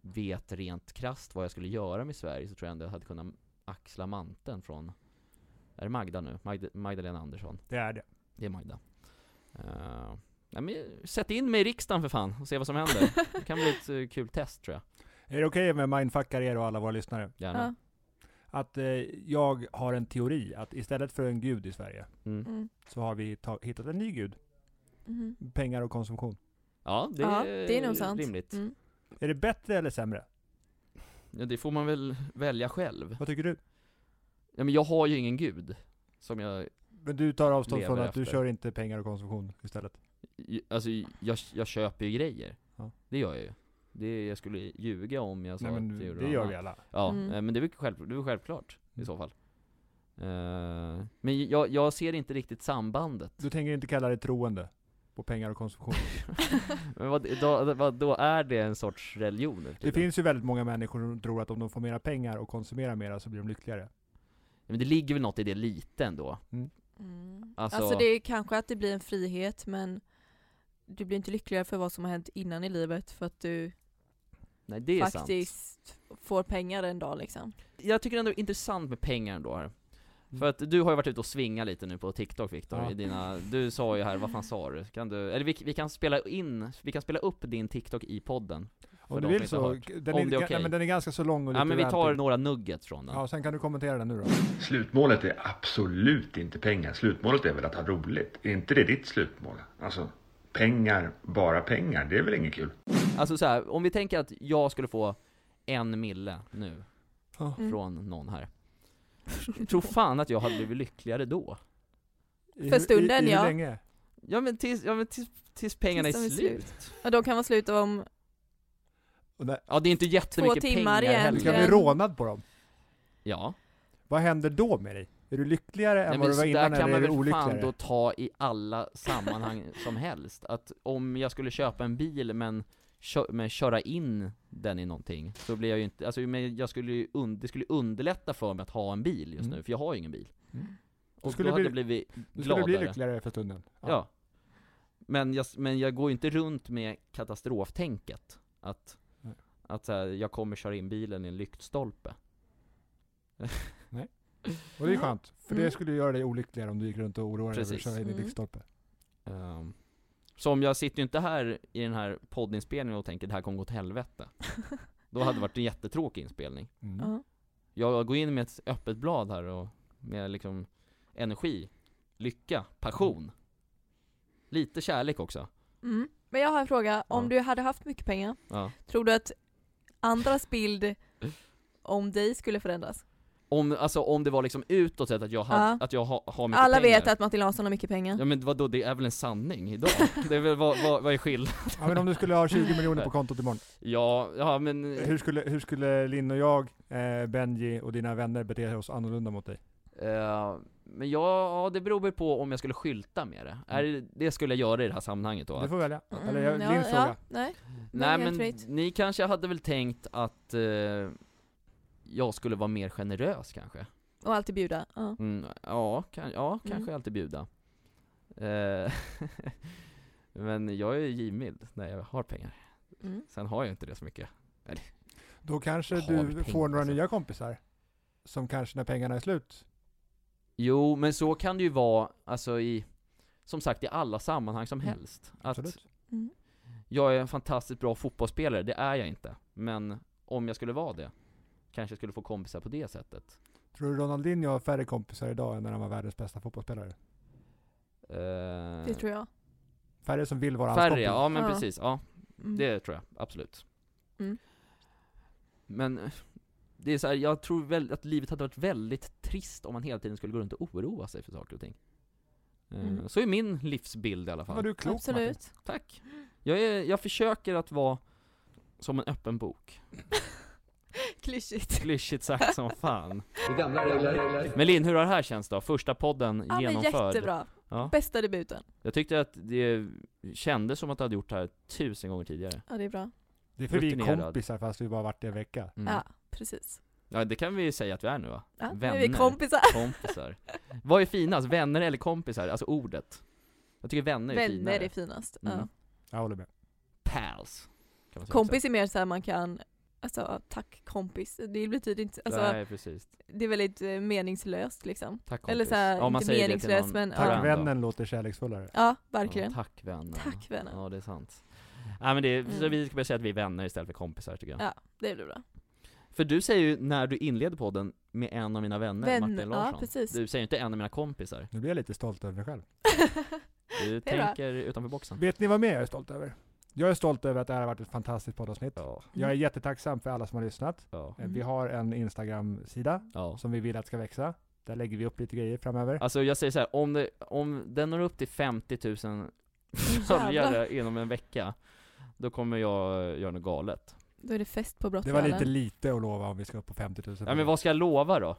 S2: vet rent krasst vad jag skulle göra med Sverige så tror jag ändå jag hade kunnat axla manteln från, är det Magda nu? Magda, Magdalena Andersson?
S1: Det är det.
S2: Det är Magda. Eh, nej men sätt in mig i riksdagen för fan och se vad som händer. Det kan bli ett eh, kul test tror jag.
S1: Är det okej med mindfuckar er och alla våra lyssnare?
S2: Gärna.
S3: ja.
S1: Att eh, jag har en teori att istället för en gud i Sverige
S2: Mm.
S3: Mm.
S1: så har vi ta- hittat en ny gud.
S3: Mhm.
S1: Pengar och konsumtion.
S2: Ja, det,
S3: Ja,
S2: är,
S3: det är nog sant.
S2: rimligt.
S3: Mm.
S1: Är det bättre eller sämre?
S2: Ja, det får man väl välja själv.
S1: Vad tycker du?
S2: Ja, men jag har ju ingen gud. Som jag,
S1: Men du tar avstånd
S2: Lever
S1: från att du
S2: efter.
S1: kör inte pengar och konsumtion istället?
S2: ju- alltså jag, jag köper ju grejer.
S1: Ja.
S2: Det gör jag ju. Det, jag skulle ljuga om jag sa
S1: Nej, men
S2: att jag gjorde
S1: det
S2: något
S1: gör
S2: Alltså, annat.
S1: vi alla.
S2: Ja,
S3: Mm.
S2: eh, men det är väl själv, det är väl självklart i
S1: Mm.
S2: så fall. Eh, men jag, jag ser inte riktigt sambandet.
S1: Du tänker inte kalla det troende på pengar och konsumtion?
S2: Men vad, då, vad, då är det en sorts religion? nu för
S1: Det
S2: tiden?
S1: finns ju väldigt många människor som tror att om de får mera pengar och konsumerar mera så blir de lyckligare.
S2: Men det ligger väl något i det lite ändå?
S3: Mm.
S2: Alltså-
S3: Alltså, det är kanske att det blir en frihet men du blir inte lyckligare för vad som har hänt innan i livet för att du
S2: Nej det är sant.
S3: faktiskt får pengar en dag liksom.
S2: Jag tycker ändå det är intressant med pengar ändå här. För att du har ju varit ute och svingat lite nu på TikTok Viktor,
S1: Mm. Ja.
S2: i dina, du sa ju här, vad fan sa du? Kan du, eller vi, vi kan spela in, vi kan spela upp din TikTok i podden
S1: Om du
S2: de som
S1: vill
S2: inte har
S1: så,
S2: hört.
S1: den
S2: Om
S1: är,
S2: det är
S1: ga-
S2: okej.
S1: nej, men den är ganska så lång och lite
S2: Ja men vi tar
S1: vältryckt.
S2: några nuggets från den
S1: Ja, sen kan du kommentera den nu då.
S6: Slutmålet är absolut inte pengar. Slutmålet är väl att ha roligt. Är inte det ditt slutmål? Alltså, pengar, bara pengar, det är väl inget kul?
S2: Alltså så här, om vi tänker att jag skulle få en mille nu
S1: Ja.
S3: Mm.
S2: från någon här Tror fan att jag hade blivit lyckligare då
S1: I hur-
S3: För stunden,
S1: i, i hur
S3: ja.
S1: länge?
S2: Ja men tills, ja, men tills, tills pengarna
S3: Tills de
S2: är
S3: är
S2: slut.
S3: slut. Ja, de kan vara slut
S2: Mm.
S3: om,
S1: Och där,
S2: Ja det är inte jättemycket
S3: timmar
S2: pengar
S3: igen.
S1: du
S2: heller
S1: ska bli
S3: Den-
S1: rånad på dem.
S2: Ja,
S1: Vad händer då med dig? Är du lyckligare än vad
S2: Nej, men
S1: du var
S2: så där
S1: innan
S2: kan
S1: eller är
S2: man
S1: du
S2: väl fan
S1: olyckligare?
S2: då ta i alla sammanhang som helst Att om jag skulle köpa en bil men, kö, men köra in den i någonting Så blir jag ju inte, alltså men jag skulle ju un, det skulle underlätta för mig att ha en bil just
S1: Mm.
S2: nu, för jag har ju ingen bil
S1: Mm.
S2: Och
S1: skulle
S2: då hade
S1: bli-
S2: jag blivit
S1: Du skulle bli
S2: gladare
S1: lyckligare för stunden.
S2: Ja. Men, jag, men jag går ju inte runt med katastroftänket. Att,
S1: Nej.
S2: att så här, jag kommer köra in bilen i en lyktstolpe.
S1: Och det är skönt, för det
S3: Mm.
S1: skulle göra dig olyckligare om du gick runt och oroade dig över att
S2: Precis.
S1: köra in i
S3: Mm.
S1: lyktstolpe.
S2: Ehm, Som jag sitter ju inte här i den här poddinspelningen och tänker det här kommer gå till helvete. Då hade det varit en jättetråkig inspelning.
S1: Mm.
S3: ja.
S2: Jag går in med ett öppet blad här och med liksom energi, lycka, passion. Lite kärlek också.
S3: Mm. Men jag har en fråga, om
S2: Ja.
S3: du hade haft mycket pengar,
S2: Ja.
S3: tror du att andras bild om dig skulle förändras?
S2: Om, alltså om det var liksom utåt sett att jag, hade,
S3: Ja.
S2: att jag ha, har mycket
S3: Alla
S2: pengar.
S3: vet att Martin Larsson har mycket pengar.
S2: Ja men vadå, det är väl en sanning idag? Det är väl, vad, vad, vad är skillnaden?
S1: Ja, men om du skulle ha 20 miljoner på kontot imorgon,
S2: Ja, ja men,
S1: hur skulle, hur skulle Linn och jag, eh, Benji och dina vänner bete oss annorlunda mot dig?
S2: eh, men ja, ja, det beror väl på om jag skulle skylta med det. Är det, det skulle jag göra i det här sammanhanget då?
S1: Du Mm. får välja.
S3: Mm,
S1: Eller jag,
S3: ja,
S1: Linns fråga.
S3: ja, nej.
S2: Nej
S3: helt
S2: men,
S3: rätt.
S2: ni kanske hade väl tänkt att eh, jag skulle vara mer generös kanske?
S3: Och alltid bjuda. Ja.
S2: Mm, ja, kan, ja, kanske alltid bjuda. Eh, men jag är ju givmild när jag har pengar.
S3: Mm.
S2: Sen har jag inte det så mycket.
S1: Då kanske
S2: Har vi
S1: du
S2: pengar,
S1: får några
S2: alltså?
S1: nya kompisar. Som kanske när pengarna är slut.
S2: Jo, men så kan det ju vara, alltså i, som sagt i alla sammanhang som
S1: Mm,
S2: helst. Att
S1: Absolut.
S3: Mm.
S2: jag är en fantastiskt bra fotbollsspelare, det är jag inte. Men om jag skulle vara det, kanske jag skulle få kompisar på det sättet.
S1: Tror du Ronaldinho har färre kompisar idag än när han var världens bästa fotbollsspelare?
S2: Eh,
S3: Det tror jag.
S1: Färre som vill vara hans
S2: färre,
S1: kompis.
S2: ja men
S3: Ja.
S2: precis. Ja,
S3: Mm.
S2: det tror jag, absolut.
S3: Mm.
S2: Men eh, det är så här, jag tror väl att livet hade varit väldigt trist om man hela tiden skulle gå runt och oroa sig för saker och ting. Eh,
S3: Mm.
S2: Så är min livsbild i alla fall.
S1: Var du är klok Martin.
S3: Absolut.
S2: Tack. Jag, är, jag försöker att vara som en öppen bok.
S3: Klyschigt.
S2: Klyschigt sagt som fan.
S5: Vi gamla regler.
S2: Men Linn, hur har det här känts då? Första podden
S3: Ja men
S2: genomförd.
S3: jättebra.
S2: Ja.
S3: Bästa debuten.
S2: Jag tyckte att det kändes som att du hade gjort det här tusen gånger tidigare.
S3: Ja det är
S2: Mm.
S3: bra.
S1: Det är för vi är
S2: Rutinerad.
S1: kompisar fast vi bara varit det en vecka.
S2: Mm.
S3: Ja precis.
S2: ja, det kan vi ju säga att vi är nu va?
S3: Ja, nu är vi
S2: Vänner.
S3: kompisar.
S2: Kompisar. Vad är finast? Vänner eller kompisar? Alltså ordet. Jag tycker vänner är finare.
S3: Vänner är finast. Ja.
S2: Mm.
S1: Jag håller med.
S2: Pals. Kan man säga
S3: Kompis är mer såhär man kan, alltså tack kompis. Det betyder inte,
S2: också.
S3: alltså
S2: Nej, precis.
S3: det är väldigt eh, meningslöst liksom.
S2: Tack kompis.
S3: Eller så här, inte
S2: säger det till
S3: meningslöst,
S2: någon
S3: men, ja.
S1: Tack
S2: vän då.
S1: vännen låter kärleksfullare.
S3: Ja, verkligen.
S2: Ja, tack vännen.
S3: Tack, vännen.
S2: Ja det är sant. Nej men det, är- så
S3: Mm.
S2: vi ska börja säga att vi är vänner istället för kompisar tycker jag.
S3: Ja. Det är väl bra.
S2: För du säger ju när du inleder podden med en av mina vänner,
S3: Vän-
S2: Martin Larsson.
S3: ja, precis.
S2: Du säger ju inte en av mina kompisar.
S1: Nu blir jag lite stolt över mig själv.
S2: Du
S3: Det är bra.
S2: tänker utanför boxen.
S1: Vet ni vad mer jag är stolt över? Jag är stolt över att det här har varit ett fantastiskt poddavsnitt.
S2: Ja,
S1: Jag är jättetacksam för alla som har lyssnat.
S2: ja,
S1: Eh,
S3: Mm.
S1: Vi har en Instagram-sida
S2: ja.
S1: som vi vill att ska växa. Där lägger vi upp lite grejer framöver.
S2: Alltså jag säger så här, om, det, om den når upp till 50 000 följare inom en vecka, då kommer jag eh, göra något galet.
S3: Då är det fest på
S1: Det var
S3: brottsvallen.
S1: lite lite att lova om vi ska upp på 50 000.
S2: Ja men vad ska jag lova då?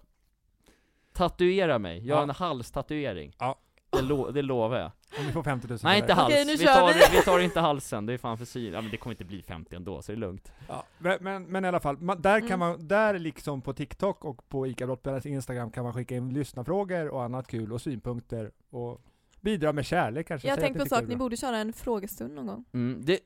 S2: Tatuera mig, gör
S1: Ja.
S2: en halstatuering.
S1: Ja.
S2: Det, lo- det lovar jag.
S1: Om vi får 50 000
S2: Nej inte
S1: följare.
S2: hals,
S3: Okej, nu
S2: vi,
S3: kör
S2: tar,
S3: vi.
S2: vi tar inte halsen, det är fan för syn. Ja men det kommer inte bli 50 ändå, så det är lugnt.
S1: Ja, men, men, men i alla fall, man, där
S3: Mm.
S1: kan man, där liksom på TikTok och på ICA Brottbjörnens Instagram kan man skicka in lyssnarfrågor och annat kul och synpunkter och bidra med kärlek kanske.
S3: Jag
S1: Säg att
S3: tänkte på en
S1: tycker
S3: sak,
S1: det
S3: ni
S1: är bra.
S3: borde köra en frågestund någon gång.
S2: Mm, det...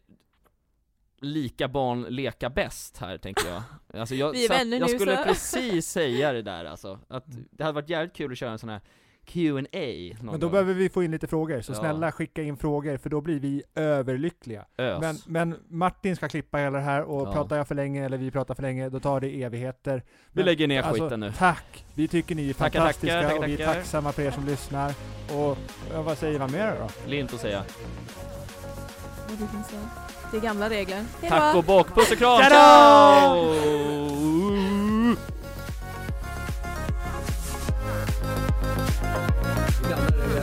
S2: Lika barn leka bäst här tänker jag. Alltså jag,
S3: Vi är
S2: satt-
S3: vänner
S2: jag
S3: nu,
S2: skulle
S3: så.
S2: precis säga det där alltså. Att det hade varit jävligt kul att köra en sån här Q&A någon
S1: Men då
S2: gång.
S1: behöver vi få in lite frågor, så
S2: Ja.
S1: snälla skicka in frågor för då blir vi överlyckliga.
S2: Ös.
S1: Men, men Martin ska klippa hela det här och
S2: Ja.
S1: pratar jag för länge eller vi pratar för länge, då tar det evigheter.
S2: vi
S1: men-
S2: lägger ner
S1: alltså,
S2: skiten nu.
S1: Tack! Vi tycker ni är
S2: Tackar,
S1: fantastiska
S2: tackar, tackar,
S1: och vi är
S2: tackar.
S1: tacksamma för er som lyssnar. Och ja, vad säger man mer då?
S2: Lint att säga.
S3: Vad du kan säga. Det är gamla regler. Hejdå!
S2: Tack och bock, puss och kram!
S1: Tja då!
S2: Ciao!